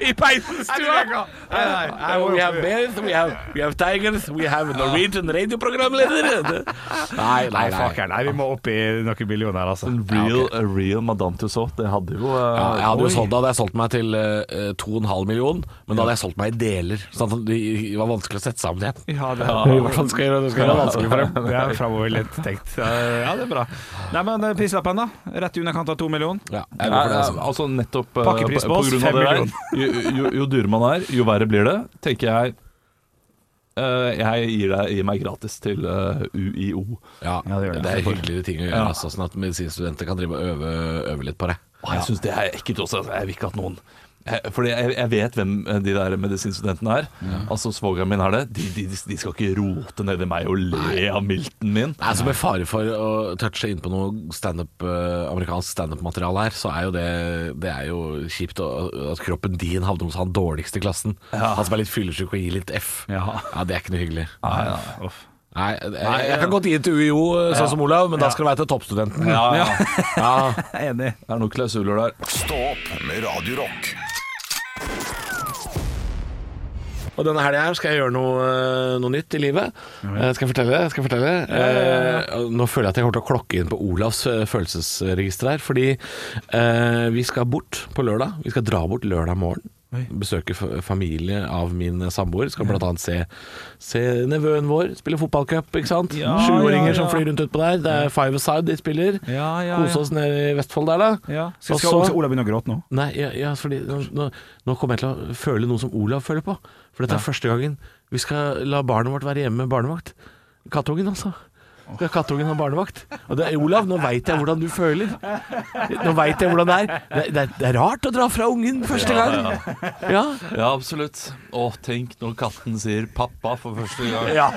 [SPEAKER 3] I Peisenstua!
[SPEAKER 4] Nei, nei, nei,
[SPEAKER 3] We
[SPEAKER 4] jeg
[SPEAKER 3] have
[SPEAKER 4] må-
[SPEAKER 3] bears, we have, we have tigers, we have Norwegian radioprogramledere! Nei, nei,
[SPEAKER 4] Nei, fuck
[SPEAKER 3] nei.
[SPEAKER 4] her. Nei, vi må opp i noen millioner, altså.
[SPEAKER 5] En real, a real Madame Tussauds, det hadde jo eh,
[SPEAKER 3] Ja, jeg hadde jo
[SPEAKER 5] oi.
[SPEAKER 3] solgt, da hadde jeg solgt meg til eh, 2,5 million, men da hadde jeg solgt meg i deler. Sånn at det var vanskelig å sette sammen igjen.
[SPEAKER 4] Ja, det
[SPEAKER 3] I hvert fall skal jeg gjøre det skal jeg gjøre det vanskelig for dem.
[SPEAKER 4] Det er framoverlent tenkt. Ja, det er bra. Nei, men eh, prislappen, da? Rett i underkant av to millioner?
[SPEAKER 3] Ja, jeg
[SPEAKER 5] Ja,
[SPEAKER 3] går for det,
[SPEAKER 5] ja,
[SPEAKER 3] altså.
[SPEAKER 5] altså nettopp eh,
[SPEAKER 4] Pakkepris på
[SPEAKER 5] på
[SPEAKER 4] oss,
[SPEAKER 5] grunn av
[SPEAKER 4] fem
[SPEAKER 5] det der, jo, jo, jo dyrere man er, jo verre blir det, tenker jeg. eh, jeg gir, deg, gir meg gratis til eh, UiO.
[SPEAKER 3] Ja,
[SPEAKER 4] Ja, det
[SPEAKER 3] det,
[SPEAKER 4] gjør det.
[SPEAKER 3] er hyggeligere ting å gjøre,
[SPEAKER 5] Ja.
[SPEAKER 3] altså, sånn at medisinstudenter kan drive og øve, øve litt på det.
[SPEAKER 5] Og jeg syns det er ekkelt også. altså. Jeg vil ikke at noen jeg, Fordi jeg, jeg vet hvem eh, de der medisinstudentene er. Altså Svogeren min er det. De, de, de skal ikke rote nedi meg og le av milten
[SPEAKER 3] Nei,
[SPEAKER 5] min.
[SPEAKER 3] så altså Med fare for å touche inn på noe standup, eh, amerikansk standup-materiale her, så er jo det, det er jo kjipt å, at kroppen din havner hos han dårligste i klassen. Han som er litt fyllesyk og gir litt F.
[SPEAKER 4] Ja.
[SPEAKER 3] Det er ikke noe hyggelig.
[SPEAKER 4] Uff.
[SPEAKER 3] Nei, jeg, jeg kan godt gi det til UiO, eh, sånn som Olav, men da skal det være til toppstudenten.
[SPEAKER 5] Ja, ja.
[SPEAKER 3] Ja.
[SPEAKER 4] Jeg er Enig.
[SPEAKER 5] Det er noen klausuler der.
[SPEAKER 1] Stå opp med Radio Rock.
[SPEAKER 3] Og denne helga her skal jeg gjøre noe, noe nytt i livet. Eh, Skal jeg fortelle? Skal jeg fortelle? Eh, Nå føler jeg at jeg kommer til å klokke inn på Olavs eh, følelsesregister her. Fordi eh, vi skal bort på lørdag. Vi skal dra bort lørdag morgen. Besøke fa- familie av min eh, samboer. Skal bl.a. Se, se nevøen vår spille fotballcup. ikke sant?
[SPEAKER 4] Ja,
[SPEAKER 3] Sjuåringer
[SPEAKER 4] ja, ja.
[SPEAKER 3] som flyr rundt utpå der. Det er five aside de spiller.
[SPEAKER 4] Ja, ja,
[SPEAKER 3] Kose
[SPEAKER 4] ja.
[SPEAKER 3] oss nede i Vestfold der, da.
[SPEAKER 4] Ja. Skal,
[SPEAKER 3] Og
[SPEAKER 4] skal,
[SPEAKER 3] så-
[SPEAKER 4] skal Ola begynne å gråte nå?
[SPEAKER 3] Nei, ja, ja, fordi nå, nå, nå kommer jeg til å føle noe som Olav føler på. For dette er første gangen vi skal la barnet vårt være hjemme med barnevakt. Kattungen, altså. Skal kattungen ha barnevakt? Og det, Olav, nå veit jeg hvordan du føler. Nå veit jeg hvordan det er. Det, det, er- det er rart å dra fra ungen første gang. Ja,
[SPEAKER 5] Ja, absolutt. Å, tenk når katten sier 'pappa' for første gang.
[SPEAKER 3] ja.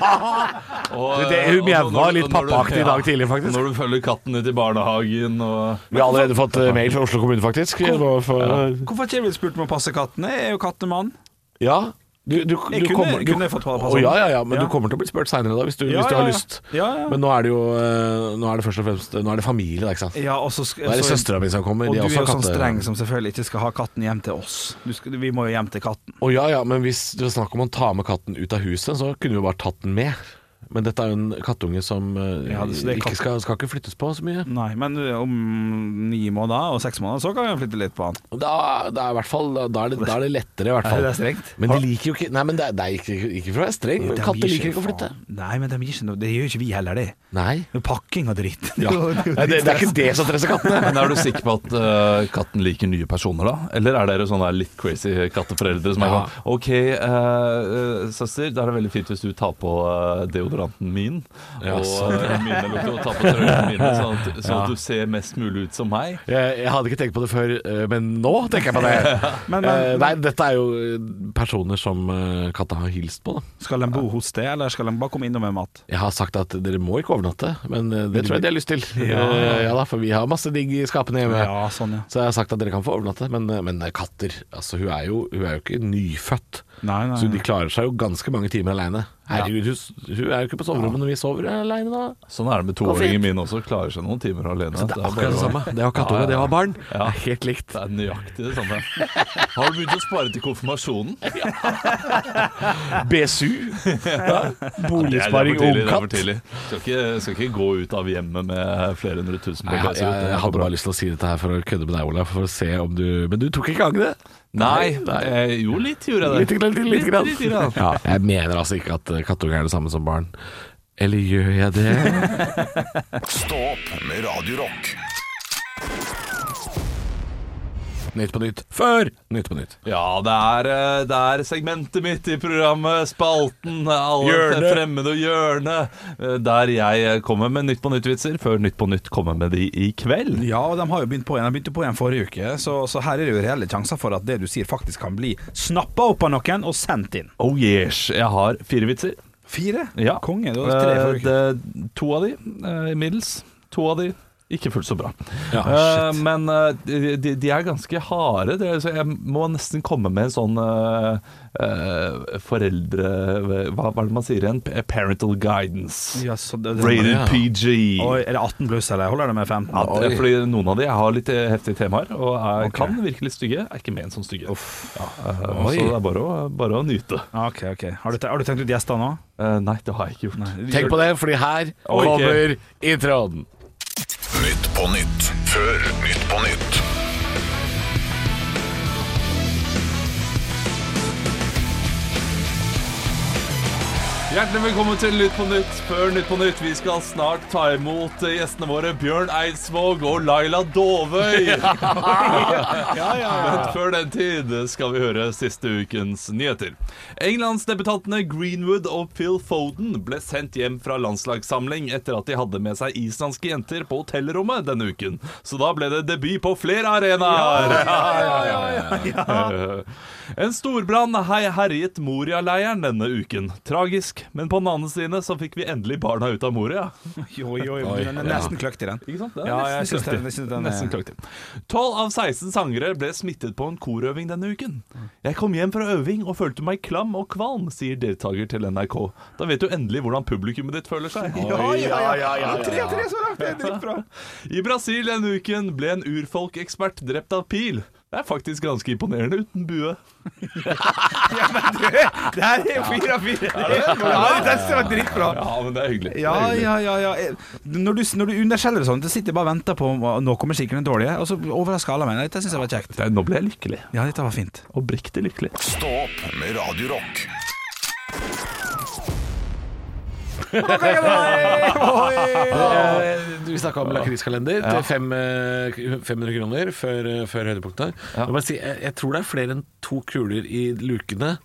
[SPEAKER 5] Og, eh,
[SPEAKER 3] Det- hun
[SPEAKER 5] og når-
[SPEAKER 3] mjaua litt
[SPEAKER 5] og når du-
[SPEAKER 3] pappaaktig i
[SPEAKER 5] ja,
[SPEAKER 3] dag tidlig, faktisk.
[SPEAKER 5] Når du følger katten ut i barnehagen og
[SPEAKER 3] Vi har allerede fått eh, mail fra Oslo kommune, faktisk. Nå for-
[SPEAKER 4] Hvorfor har ikke jeg blitt spurt om å passe kattene? Jeg er jo kattemann.
[SPEAKER 3] Ja. Du, du, du
[SPEAKER 4] Jeg kunne-
[SPEAKER 3] kommer, du,
[SPEAKER 4] kunne fått pass-
[SPEAKER 3] Å, ja, ja, ja, men
[SPEAKER 4] Ja.
[SPEAKER 3] du kommer til å bli spurt seinere, da, hvis du, hvis du har lyst.
[SPEAKER 4] Ja, ja.
[SPEAKER 3] Men nå er det jo eh, Nå er det først og fremst Nå er det familie, da, ikke sant?
[SPEAKER 4] ja, og så sk-
[SPEAKER 3] Nå er det
[SPEAKER 4] så-
[SPEAKER 3] søstera mi som kommer.
[SPEAKER 4] Og
[SPEAKER 3] de
[SPEAKER 4] du er
[SPEAKER 3] også
[SPEAKER 4] jo
[SPEAKER 3] har
[SPEAKER 4] sånn
[SPEAKER 3] katte-
[SPEAKER 4] streng som selvfølgelig ikke skal ha katten hjem til oss. Du skal, vi må jo hjem til katten.
[SPEAKER 3] Å ja, ja, men hvis det var snakk om å ta med katten ut av huset, så kunne vi jo bare tatt den med. Men dette er jo en kattunge som eh,
[SPEAKER 4] Ja, det- så det er
[SPEAKER 3] ikke
[SPEAKER 4] katt-
[SPEAKER 3] skal, skal ikke flyttes på så mye.
[SPEAKER 4] Nei, men eh, om ni måneder og seks måneder så kan vi flytte litt på han.
[SPEAKER 3] Da, da, er i hvert fall, da, da, er det, da er det lettere, i hvert fall.
[SPEAKER 4] Det er strengt.
[SPEAKER 3] Men de liker jo ikke Nei, men det er, det er ikke, ikke for å være streng, men katter liker ikke å flytte.
[SPEAKER 4] Nei, men de gir ikke noe. Det gjør ikke vi heller, det.
[SPEAKER 3] Nei.
[SPEAKER 4] Det er Pakking og dritt.
[SPEAKER 3] Ja. Nei, det, det er ikke det som stresser kattene.
[SPEAKER 5] Men Er du sikker på at eh, katten liker nye personer, da? Eller er dere sånne litt crazy katteforeldre som er
[SPEAKER 3] Ja.
[SPEAKER 5] sånn OK, eh, eh, søster, da er det veldig fint hvis du tar på eh, deodoranten min.
[SPEAKER 3] Ja,
[SPEAKER 5] og
[SPEAKER 3] sant.
[SPEAKER 5] eh, mine lukter, og tar på trøyene mine, sånn at, sånn at du ser mest mulig ut som meg.
[SPEAKER 3] Jeg, jeg hadde ikke tenkt på det før, eh, men nå tenker jeg på det.
[SPEAKER 4] Men, men
[SPEAKER 3] Eh, nei, dette er jo eh, personer som eh, katta har hilst på, da.
[SPEAKER 4] skal de bo hos deg, eller skal de bare komme innom med mat?
[SPEAKER 3] Jeg har sagt at dere må ikke overnatte, men eh, det tror jeg de har lyst til. Ja, ja da, for vi har masse digg i skapene hjemme.
[SPEAKER 4] Ja, sånn, ja.
[SPEAKER 3] Så jeg har sagt at dere kan få overnatte, men, eh, men katter altså, hun, er jo, hun er jo ikke nyfødt,
[SPEAKER 4] Nei, nei.
[SPEAKER 3] så de klarer seg jo ganske mange timer aleine. Herregud, hun, hun er jo ikke på soverommet når vi sover aleine, da.
[SPEAKER 5] Sånn er det med toåringen min også. Klarer seg noen timer alene.
[SPEAKER 3] Det er
[SPEAKER 5] bare
[SPEAKER 3] akkurat det
[SPEAKER 5] å-
[SPEAKER 3] samme. Det å ha kattunge, det å ha barn,
[SPEAKER 5] Ja.
[SPEAKER 3] er helt likt.
[SPEAKER 5] Det er nøyaktig det samme. Har du begynt å spare til konfirmasjonen?
[SPEAKER 3] BSU.
[SPEAKER 5] Boligsparing
[SPEAKER 3] og
[SPEAKER 5] Det er for
[SPEAKER 3] katt.
[SPEAKER 5] tidlig. Skal ikke, skal ikke gå ut av hjemmet med flere hundre tusen på
[SPEAKER 3] Nei, jeg,
[SPEAKER 5] BSU.
[SPEAKER 3] jeg, jeg hadde bare lyst til å si dette her for å kødde med deg, Olav. For å se om du Men du tok ikke agnet?
[SPEAKER 5] Nei,
[SPEAKER 3] Nei.
[SPEAKER 5] eh, jo litt gjorde jeg det.
[SPEAKER 3] Litt, litt, litt, litt grann.
[SPEAKER 5] Litt, litt grann.
[SPEAKER 3] Ja, jeg mener altså ikke at eh, kattunger er det samme som barn. Eller gjør jeg det?
[SPEAKER 1] Stå opp med Radio Rock.
[SPEAKER 3] Nytt på nytt før Nytt på nytt.
[SPEAKER 5] Ja, det er, eh, det er segmentet mitt i programmet, spalten, eh, alle
[SPEAKER 3] Hjørnet.
[SPEAKER 5] fremmede og hjørnet, eh, der jeg kommer med Nytt på nytt-vitser, før Nytt på nytt kommer med de i kveld.
[SPEAKER 4] Ja, og de har jo begynt på igjen. De begynte på igjen forrige uke, så, så her er det jo reelle sjanser for at det du sier faktisk kan bli snappa opp av noen og sendt inn.
[SPEAKER 5] Oh yes, jeg har fire vitser.
[SPEAKER 4] Fire?
[SPEAKER 5] Ja.
[SPEAKER 4] Konge. Du har tre
[SPEAKER 5] Eh,
[SPEAKER 4] forrige uke.
[SPEAKER 5] det- To av de eh, middels, to av de ikke fullt så bra.
[SPEAKER 4] Ah,
[SPEAKER 3] Ja,
[SPEAKER 5] Eh, men eh, de, de- de er ganske harde, det, er- så jeg må nesten komme med en sånn eh, eh, foreldre... Hva, hva er det man sier igjen? P- Parental guidance.
[SPEAKER 4] Ja, så det- det-
[SPEAKER 5] Rated
[SPEAKER 3] ja.
[SPEAKER 5] PG.
[SPEAKER 4] Oi, er det 18 pluss, eller holder det med 15?
[SPEAKER 5] Ja, det
[SPEAKER 4] Oi.
[SPEAKER 5] er fordi noen av de har litt eh, heftige temaer, og er, kan virke litt stygge. Er ikke ment som stygge. Ja, eh,
[SPEAKER 3] Oi.
[SPEAKER 5] så det er bare å, bare å nyte.
[SPEAKER 4] Ok, ok. Har du, te- har du tenkt ut gjester nå?
[SPEAKER 5] Eh, nei, det har jeg ikke gjort.
[SPEAKER 3] Tenk på det, fordi her
[SPEAKER 5] Ok.
[SPEAKER 3] kommer introen.
[SPEAKER 1] Nytt på nytt før Nytt på nytt.
[SPEAKER 5] Hjertelig velkommen til Nytt på Nytt før Nytt på Nytt. Vi skal snart ta imot eh, gjestene våre Bjørn Eidsvåg og Laila Dovøy. Men før den tid skal vi høre siste ukens nyheter. Englandsdebutantene Greenwood og Phil Foden ble sendt hjem fra landslagssamling etter at de hadde med seg islandske jenter på hotellrommet denne uken. Så da ble det debut på flere arenaer. En storbrann hei- herjet Moria-leiren denne uken. Tragisk, men på den andre siden så fikk vi endelig barna ut av Moria.
[SPEAKER 4] Jo, jo, jo. Den er
[SPEAKER 3] ja.
[SPEAKER 4] nesten kløkt i den.
[SPEAKER 5] Ikke sant? Det er
[SPEAKER 4] Ja, jeg
[SPEAKER 5] nesten
[SPEAKER 4] syns den,
[SPEAKER 5] kløktig.
[SPEAKER 4] jeg synes den
[SPEAKER 5] Nesten
[SPEAKER 4] er
[SPEAKER 5] kløktig. 12 av 16 sangere ble smittet på en korøving denne uken. Jeg kom hjem fra øving og følte meg klam og kvalm, sier deltaker til NRK. Da vet du endelig hvordan publikummet ditt føler seg.
[SPEAKER 4] Tre, tre så langt, det er dritbra.
[SPEAKER 5] I Brasil denne uken ble en urfolkekspert drept av pil. Det er faktisk ganske imponerende uten bue.
[SPEAKER 4] Det her er jo fire av fire. Ja, dette var dritbra.
[SPEAKER 5] Ja, men det er hyggelig. Det er
[SPEAKER 4] Ja,
[SPEAKER 5] hyggelig.
[SPEAKER 4] ja, ja, ja. Eh, Når du, når du underskjeller det sånn, da sitter jeg bare og venter på om- eh, Nå kommer sikkert den dårlige, og så overrasker alle meg. Dette syns jeg var kjekt.
[SPEAKER 5] Det er- Nå ble jeg lykkelig.
[SPEAKER 4] Ja, dette var fint.
[SPEAKER 5] Oppriktig lykkelig.
[SPEAKER 1] Stå opp med Radio Rock.
[SPEAKER 3] Eh, Vi snakka om lakriskalender til fem, eh, 500 kroner før, eh, før høydepunktet. Jeg, må bare si, jeg, jeg tror det er flere enn to kuler i lukene.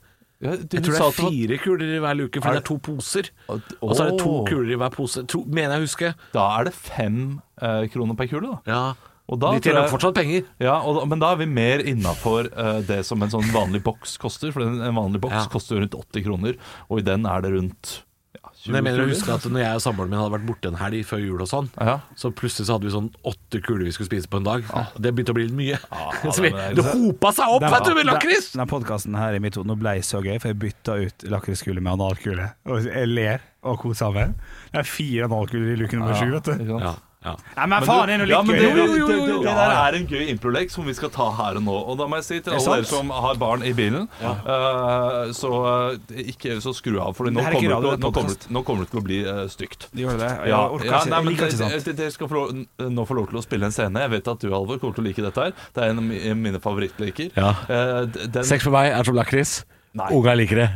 [SPEAKER 3] Jeg tror det er fire kuler i hver luke, for det er to poser.
[SPEAKER 5] At-
[SPEAKER 3] Og så er det to
[SPEAKER 5] Åh.
[SPEAKER 3] kuler i hver pose. Tro, mener jeg å huske.
[SPEAKER 5] Da er det fem eh, kroner per kule, da.
[SPEAKER 3] Ja.
[SPEAKER 5] Og da
[SPEAKER 3] De
[SPEAKER 5] tror
[SPEAKER 3] tjener
[SPEAKER 5] jeg-
[SPEAKER 3] fortsatt penger.
[SPEAKER 5] Ja, og, da- Men da er vi mer innafor det som en sånn vanlig boks koster. For en en vanlig boks
[SPEAKER 3] Ja.
[SPEAKER 5] koster jo rundt 80 kroner, og i den er det rundt ja, 20
[SPEAKER 3] Men jeg mener å
[SPEAKER 5] kroner.
[SPEAKER 3] huske at når jeg og samboeren min hadde vært borte en helg før jul og sånn,
[SPEAKER 5] Ja.
[SPEAKER 3] så plutselig så hadde vi sånn åtte kuler vi skulle spise på en dag. Det begynte å bli litt mye. så vi,
[SPEAKER 5] det-
[SPEAKER 3] Ah. det hopa seg opp, vet du, med lakris!
[SPEAKER 4] Denne podkasten her i mitt hode Nå ble jeg så gøy, for jeg bytta ut lakriskule med analkule. Og jeg ler og koser meg. Det er fire analkuler i luke nummer sju, vet du.
[SPEAKER 5] Ikke sant?
[SPEAKER 3] Ja, ja.
[SPEAKER 4] Nei, men faen, det er
[SPEAKER 5] ja,
[SPEAKER 4] noe litt
[SPEAKER 5] men det,
[SPEAKER 4] gøy.
[SPEAKER 5] det,
[SPEAKER 4] da.
[SPEAKER 5] det, det, det der er en gøy improlek som vi skal ta her og nå. Og da må jeg si til alle
[SPEAKER 4] sant?
[SPEAKER 5] dere som har barn i bilen, eh, så eh, ikke så skru av. For nå
[SPEAKER 4] Det her er ikke
[SPEAKER 5] kommer,
[SPEAKER 4] radio, det
[SPEAKER 5] det, til å- nå,
[SPEAKER 4] er
[SPEAKER 5] kommer,
[SPEAKER 4] podcast.
[SPEAKER 5] det- nå kommer det til å bli eh, stygt.
[SPEAKER 4] Gjør det det? Jeg
[SPEAKER 5] Ja,
[SPEAKER 4] orker
[SPEAKER 5] ja,
[SPEAKER 4] ikke.
[SPEAKER 5] nei,
[SPEAKER 4] Jeg
[SPEAKER 5] men
[SPEAKER 4] liker ikke
[SPEAKER 5] dere-
[SPEAKER 4] sånt.
[SPEAKER 5] dere- Dere skal få lov, n- nå få lov til å spille en scene. Jeg vet at du, Halvor, kommer til å like dette her. Det er en av mi- mine favorittleker.
[SPEAKER 3] Ja.
[SPEAKER 5] Eh, d- den,
[SPEAKER 3] Sex for meg er som lakris. Unga liker det.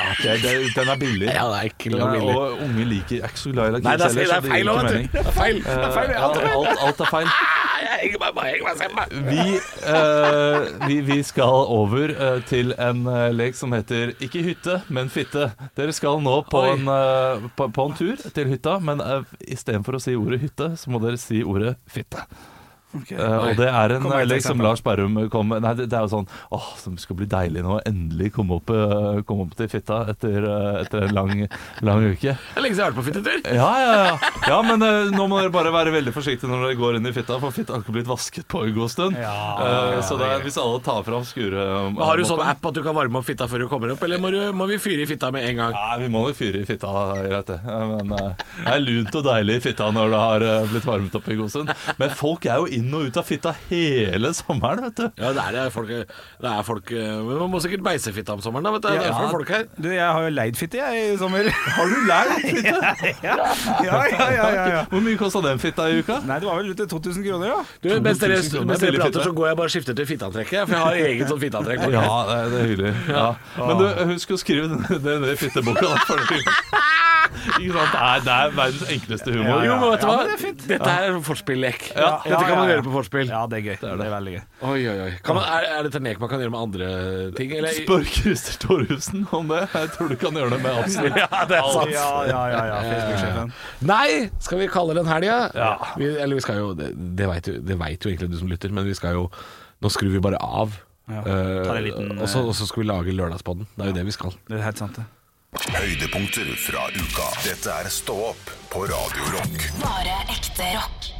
[SPEAKER 5] Ja, det- det- den er billig.
[SPEAKER 3] Ja, det er ikke
[SPEAKER 5] Den er,
[SPEAKER 3] billig.
[SPEAKER 5] og unge liker jeg er ikke så glad i lakris
[SPEAKER 3] Nei, det er,
[SPEAKER 5] heller,
[SPEAKER 3] det
[SPEAKER 5] så
[SPEAKER 3] er
[SPEAKER 5] det
[SPEAKER 3] feil
[SPEAKER 5] gir
[SPEAKER 3] òg,
[SPEAKER 5] ikke
[SPEAKER 3] vet du.
[SPEAKER 5] mening.
[SPEAKER 3] Det er feil. Det er feil.
[SPEAKER 5] Ja,
[SPEAKER 3] Alt er feil.
[SPEAKER 5] alt, alt er feil.
[SPEAKER 3] Ah, Jeg henger meg, jeg henger meg selv.
[SPEAKER 5] Vi, eh, vi, vi skal over eh, til en eh, lek som heter ikke hytte, men fitte. Dere skal nå på,
[SPEAKER 3] Oi.
[SPEAKER 5] en, eh, på, på en tur til hytta, men eh, istedenfor å si ordet hytte, så må dere si ordet fitte. Eh, og det er en
[SPEAKER 4] Kom med et
[SPEAKER 5] liksom
[SPEAKER 4] eksempel.
[SPEAKER 5] Lars Berrum kom med Nei, det, det er jo sånn Åh, som skal bli deilig nå. Endelig komme opp, eh, komme opp til fitta etter, eh, etter en lang, lang uke.
[SPEAKER 3] Det er lenge siden jeg har vært på fittetur.
[SPEAKER 5] Ja, ja, ja. ja men eh, nå må dere bare være veldig forsiktige når dere går inn i fitta, for fitta har ikke blitt vasket på en god stund. Eh, så det er, hvis alle tar fram skure... eh,
[SPEAKER 3] Har du sånn app at du kan varme opp fitta før du kommer opp, eller må, du, må vi fyre i fitta med en gang?
[SPEAKER 5] Nei, vi må jo fyre i fitta, greit det. Ja, Men eh, det er lunt og deilig i fitta når det har eh, blitt varmet opp en god stund. Men folk er jo inn og ut av fitta hele sommeren, vet du.
[SPEAKER 3] Ja, det er det folk, det er folk eh, Men man må sikkert beise fitta om sommeren, da, vet du. Det er derfor folk her.
[SPEAKER 4] Du, jeg har jo leid fitte, jeg, i sommer. Har du leid fitte? ja, ja, ja, ja, ja, ja.
[SPEAKER 5] Hvor mye kosta den fitta i uka?
[SPEAKER 4] Nei, det var vel ute 2000 kroner, ja.
[SPEAKER 3] Du, mens dere,
[SPEAKER 5] 2000 kroner,
[SPEAKER 3] mens dere
[SPEAKER 5] billig
[SPEAKER 3] prater,
[SPEAKER 5] fitte.
[SPEAKER 3] så går jeg bare og skifter til fitteantrekket. For jeg har eget sånn fitteantrekk.
[SPEAKER 5] Ja, det er- det er hyggelig. Ja. Men du, husk å skrive den den ned i fitteboka. da, for det- Ikke sant? Det er, det er verdens enkleste humor.
[SPEAKER 3] Jo, men vet du hva?
[SPEAKER 4] men det er fint.
[SPEAKER 3] Dette er en forspilllek.
[SPEAKER 5] Ja.
[SPEAKER 3] Dette kan man
[SPEAKER 4] ja, ja.
[SPEAKER 3] gjøre på forspill.
[SPEAKER 4] Ja, det er gøy. Det er, veldig gøy.
[SPEAKER 3] Oi, oi, oi. Kan man, er, er dette en lek man kan gjøre med andre ting? Eller?
[SPEAKER 5] Spør Christer Thorhusen om det. Jeg tror du kan gjøre det med absolutt alt.
[SPEAKER 4] Ja, ja, ja, ja. Facebook-sjefen.
[SPEAKER 3] Nei! Skal vi kalle den helga? Ja. Vi, eller vi skal jo Det, det veit jo, det vet jo egentlig du som lytter, men vi skal jo Nå skrur vi bare av.
[SPEAKER 4] Ja,
[SPEAKER 3] Eh,
[SPEAKER 4] tar en liten,
[SPEAKER 3] og så og så skal vi lage Lørdagspodden. Det er jo det vi skal.
[SPEAKER 4] Det er helt sant, det.
[SPEAKER 1] Høydepunkter fra uka. Dette er Stå opp på Radio Rock.
[SPEAKER 2] Bare ekte rock.